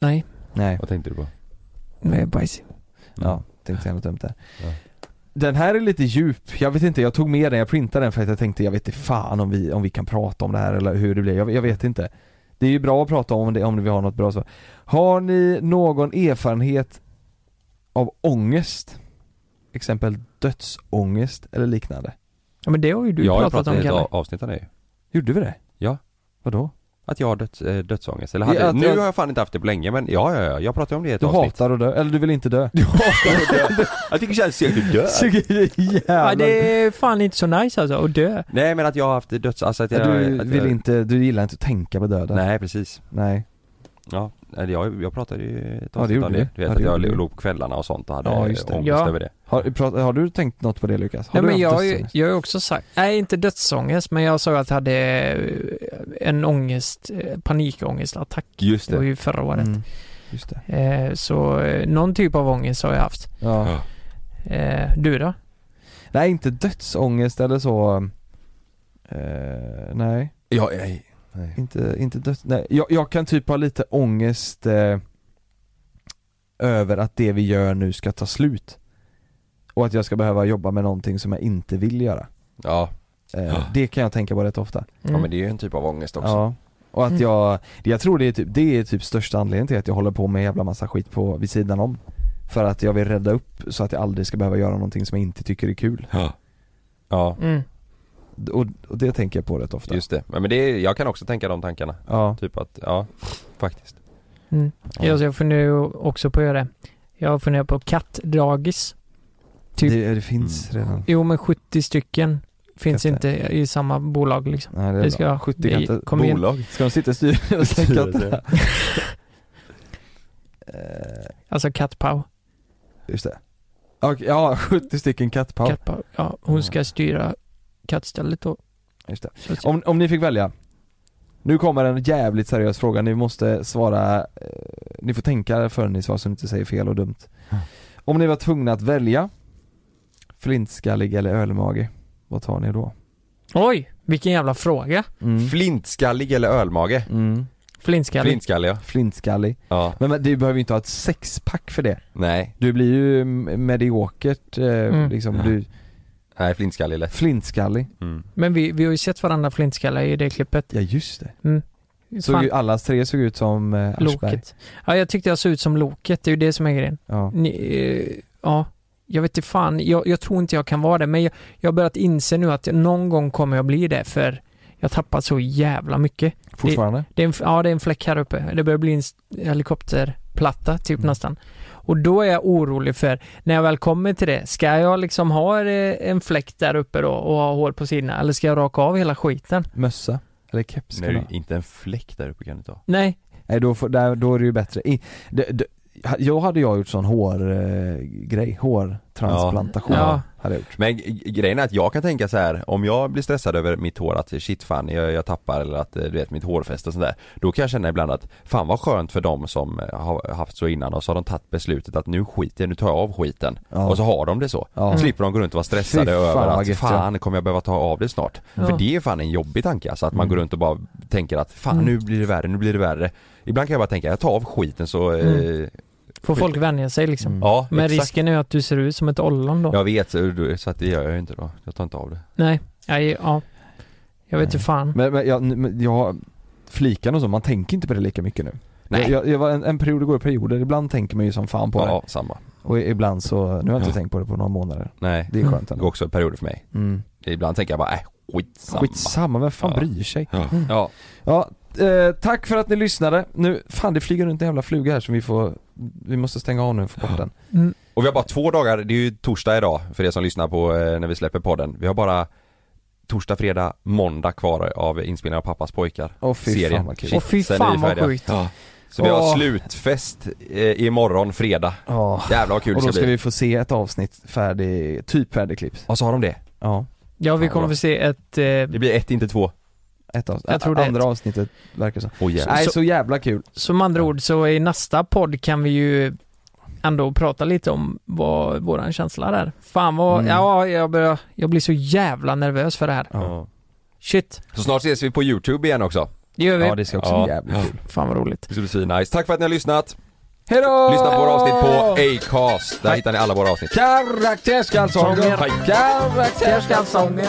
Speaker 2: nej,
Speaker 1: Nej,
Speaker 3: Vad tänkte du på?
Speaker 2: nu är jag bajsig.
Speaker 1: ja, tänkte säga något dumt där.
Speaker 3: Mm. Ja.
Speaker 1: Den här är lite djup, jag vet inte, jag tog med den, jag printade den för att jag tänkte jag vet inte fan om vi, om vi kan prata om det här eller hur det blir, jag, jag vet inte. Det är ju bra att prata om det om vi har något bra svar. Har ni någon erfarenhet av ångest? Exempel dödsångest eller liknande?
Speaker 2: Ja men det har ju du
Speaker 3: jag har ju
Speaker 2: pratat
Speaker 3: pratat i
Speaker 2: om
Speaker 3: ett
Speaker 2: Kalle.
Speaker 3: a- avsnitt om det ju.
Speaker 1: Gjorde vi det?
Speaker 3: Ja.
Speaker 1: Vadå?
Speaker 3: Att jag har döds, eh, dödsångest, eller hade,
Speaker 1: Ja, att
Speaker 3: nu
Speaker 1: jag-
Speaker 3: har jag fan inte haft det på länge men ja, ja, ja jag pratade om det i ett
Speaker 1: Du
Speaker 3: avsnitt
Speaker 1: hatar att dö, eller du vill inte dö?
Speaker 3: Du hatar att dö. Jag tycker det känns segt att dö
Speaker 2: Ja,
Speaker 1: Jävlar.
Speaker 2: det är fan inte så nice alltså att dö.
Speaker 3: Nej men att jag har haft döds, alltså att jag,
Speaker 1: Du
Speaker 3: att
Speaker 1: vill
Speaker 3: jag,
Speaker 1: inte, du gillar inte att tänka på döden?
Speaker 3: Nej precis,
Speaker 1: Nej.
Speaker 3: ja, eller jag, jag pratade ju i ett
Speaker 1: Ja, det
Speaker 3: avsnitt
Speaker 1: gjorde
Speaker 3: om det
Speaker 1: du.
Speaker 3: Du vet
Speaker 1: Ja,
Speaker 3: att
Speaker 1: det
Speaker 3: jag
Speaker 1: gjorde du.
Speaker 3: låg på kvällarna och sånt och hade
Speaker 1: Ja,
Speaker 3: ja,
Speaker 1: just det.
Speaker 3: ångest
Speaker 2: Ja.
Speaker 3: över det
Speaker 1: Har, pra- har du tänkt något på det Lukas? Har du
Speaker 2: Nej, men jag, har
Speaker 1: haft
Speaker 2: ju-
Speaker 1: dödsångest?
Speaker 2: jag har ju också sagt, nej inte dödsångest, men jag sa att jag hade eh, en ångest, eh, panikångestattack.
Speaker 3: Just
Speaker 2: Det var ju förra året.
Speaker 1: Mm. Just det.
Speaker 2: Eh, så eh, någon typ av ångest har jag haft.
Speaker 1: Ja.
Speaker 3: Ja.
Speaker 2: Eh, du då?
Speaker 1: Nej inte dödsångest eller så Eh, nej,
Speaker 3: Ja, nej.
Speaker 1: inte, inte döds... Nej. Jag, jag kan typ ha lite ångest eh, över att det vi gör nu ska ta slut. Och att jag ska behöva jobba med någonting som jag inte vill göra.
Speaker 3: Ja.
Speaker 1: Eh,
Speaker 3: Ja.
Speaker 1: det kan jag tänka på rätt ofta.
Speaker 2: Mm.
Speaker 3: men det är ju en typ av ångest också
Speaker 1: Ja. Och att
Speaker 2: Mm.
Speaker 1: jag, jag tror det är typ, det är typ största anledningen till att jag håller på med en jävla massa skit på, vid sidan om. För att jag vill rädda upp så att jag aldrig ska behöva göra någonting som jag inte tycker är kul.
Speaker 3: Ja, ja
Speaker 2: mm.
Speaker 1: D- Och, och det tänker jag på rätt ofta.
Speaker 3: just det, Ja, men det, är- jag kan också tänka de tankarna
Speaker 1: Ja.
Speaker 3: Typ att, ja, faktiskt
Speaker 2: Mm.
Speaker 3: Ja.
Speaker 2: Ja, så jag funderar ju också på att göra det. Jag funderar på kattdagis. Typ-
Speaker 1: Det, det finns
Speaker 3: Mm.
Speaker 1: redan.
Speaker 2: Jo, men 70 stycken finns
Speaker 1: Katter.
Speaker 2: inte i samma bolag liksom.
Speaker 1: Nej, det är
Speaker 2: Det
Speaker 1: bra.
Speaker 2: ska
Speaker 1: 70
Speaker 2: det-
Speaker 1: katter.
Speaker 2: kom igen.
Speaker 1: Ska de sitta i styrelsen och sänka
Speaker 3: Styrelse.
Speaker 2: Alltså kattpau.
Speaker 1: Eh, Just det. Okej, ja, 70 stycken kattpaus.
Speaker 2: Kattpau. Ja, hon ska styra kattstället då.
Speaker 1: Just det.
Speaker 2: Så att-
Speaker 1: Om, om ni fick välja. Nu kommer en jävligt seriös fråga, ni måste svara, eh, ni får tänka förrän ni svarar så ni inte säger fel och dumt. Om ni var tvungna att välja flintskallig eller ölmage, vad tar ni då?
Speaker 2: Oj, vilken jävla fråga.
Speaker 1: Mm.
Speaker 3: Flintskallig eller ölmage?
Speaker 1: Mm.
Speaker 2: Flintskallig.
Speaker 3: Flintskallig ja,
Speaker 1: Flintskallig.
Speaker 3: ja.
Speaker 1: Men, men du behöver ju inte ha ett sexpack för det.
Speaker 3: Nej,
Speaker 1: Du blir ju m- mediokert, eh,
Speaker 2: Mm.
Speaker 1: liksom, du,
Speaker 3: nej flintskallig lätt
Speaker 1: flintskallig.
Speaker 3: mm.
Speaker 2: Men vi, vi har ju sett varandra flintskallar i det klippet.
Speaker 1: Ja just det. Såg
Speaker 2: Fan,
Speaker 1: ju, alla tre såg ut som eh, Aschberg.
Speaker 2: Loket. Ja, jag tyckte jag såg ut som Loket. Det är ju det som är grejen.
Speaker 1: Ja.
Speaker 2: Ni, eh, ja, jag vet inte fan. Jag, jag tror inte jag kan vara det, men jag, jag har börjat inse nu att någon gång kommer jag bli det, för jag tappar så jävla mycket.
Speaker 1: Fortfarande?
Speaker 2: Det är en, ja, det är en fläck här uppe. Det börjar bli en s- helikopterplatta, typ
Speaker 1: Mm.
Speaker 2: nästan. Och då är jag orolig för, när jag väl kommer till det, ska jag liksom ha eh, en fläck där uppe då och ha hår på sidorna, eller ska jag raka av hela skiten?
Speaker 1: Mössa? Eller keps? kan det
Speaker 3: Nej,
Speaker 1: vara.
Speaker 3: inte en fläck där uppe kan du ta
Speaker 2: Nej,
Speaker 1: Nej då, får, där, då är det ju bättre. I, det, det, ha- jag hade jag gjort sån hårgrej, hårtransplantation
Speaker 2: Ja.
Speaker 1: hade jag gjort.
Speaker 3: Men g- grejen är att jag kan tänka så här om jag blir stressad över mitt hår att shit fan jag, jag tappar eller att eh, du vet mitt hårfäste och sådär Då kan jag känna ibland att fan vad skönt för dem som eh, har haft så innan och så har de tagit beslutet att nu skiter jag, nu tar jag av skiten
Speaker 1: Ja.
Speaker 3: Och så har de det så,
Speaker 1: Ja.
Speaker 3: slipper de gå runt och vara stressade
Speaker 1: Fy fan,
Speaker 3: över
Speaker 1: vad
Speaker 3: att
Speaker 1: gött,
Speaker 3: fan kommer jag behöva ta av det snart
Speaker 2: Ja.
Speaker 3: För det är fan en jobbig tanke alltså att man
Speaker 1: Mm.
Speaker 3: går runt och bara tänker att fan
Speaker 2: Mm.
Speaker 3: nu blir det värre, nu blir det värre Ibland kan jag bara tänka jag tar av skiten så eh,
Speaker 2: Mm. får folk vänja sig liksom.
Speaker 1: Mm.
Speaker 3: Ja,
Speaker 2: Men
Speaker 3: exakt.
Speaker 2: risken är ju att du ser ut som ett ollon då.
Speaker 3: Jag vet, så så att det gör jag ju inte då. Jag tar inte av det.
Speaker 2: Nej, nej, ja. Jag vet
Speaker 1: Nej.
Speaker 2: inte
Speaker 3: Mm.
Speaker 2: fan.
Speaker 1: Men, men jag, men jag flikan och så, man tänker inte på det lika mycket nu.
Speaker 3: Nej.
Speaker 1: Jag, jag var en, en period, det går i perioder, ibland tänker man ju som fan på
Speaker 3: Ja, samma.
Speaker 1: det. Och ibland så, nu har jag inte
Speaker 3: Ja.
Speaker 1: tänkt på det på några månader.
Speaker 3: Nej.
Speaker 1: Det är skönt
Speaker 3: Det
Speaker 1: ändå.
Speaker 3: går också perioder för mig.
Speaker 1: Mm.
Speaker 3: Ibland tänker jag bara, äh, skitsamma.
Speaker 1: Skitsamma, vem fan
Speaker 3: Ja.
Speaker 1: bryr sig?
Speaker 3: Ja. ja.
Speaker 1: Ja, eh, tack för att ni lyssnade. Nu, fan det flyger runt en jävla fluga här som vi får, vi måste stänga av nu och få bort den.
Speaker 2: Mm.
Speaker 3: Och vi har bara två dagar, det är ju torsdag idag för er som lyssnar på eh, när vi släpper podden. Vi har bara torsdag, fredag, måndag kvar av inspelningen av Pappas pojkar.
Speaker 1: Åh fy
Speaker 3: serien.
Speaker 1: fan vad kul.
Speaker 3: Shit,
Speaker 2: Åh, fy
Speaker 3: sen är vi
Speaker 2: fan vad
Speaker 3: färdiga.
Speaker 2: sjukt.
Speaker 3: Ja. Så vi har
Speaker 2: Åh.
Speaker 3: slutfest eh, imorgon fredag.
Speaker 1: Ja.
Speaker 3: Jävlar vad kul
Speaker 1: Och
Speaker 3: det
Speaker 1: då
Speaker 3: ska
Speaker 1: ska
Speaker 3: bli.
Speaker 1: vi få se ett avsnitt färdig, typ färdigklippt.
Speaker 3: Och så har de det.
Speaker 1: Ja,
Speaker 2: Ja, vi
Speaker 3: Fan,
Speaker 2: kommer
Speaker 3: vad
Speaker 2: få se ett... Eh,
Speaker 3: Det blir ett, inte två.
Speaker 1: ett avsnitt.
Speaker 2: Jag tror det är
Speaker 1: Andra
Speaker 2: ett.
Speaker 1: avsnittet verkar så.
Speaker 3: Oh, jävlar.
Speaker 1: Nej,
Speaker 2: Så-
Speaker 1: så jävla kul.
Speaker 2: som andra ord så i nästa podd kan vi ju ändå prata lite om vad våran känsla där. Fan vad...
Speaker 1: Mm.
Speaker 2: Ja, jag, börjar, jag blir så jävla nervös för det här.
Speaker 1: Ja,
Speaker 2: Shit,
Speaker 3: Så snart ses vi på youtube igen också.
Speaker 2: det gör vi.
Speaker 1: ja det ska också
Speaker 3: Ja.
Speaker 1: bli jävligt kul.
Speaker 2: Fan vad roligt.
Speaker 3: Det ska bli svinnice. Tack för att ni har lyssnat.
Speaker 1: Hejdå!
Speaker 3: Lyssna på våra avsnitt på Acast. Där hittar ni alla våra avsnitt.
Speaker 1: Karaktärskalsonger!
Speaker 3: Hej.
Speaker 1: Karaktärskalsonger!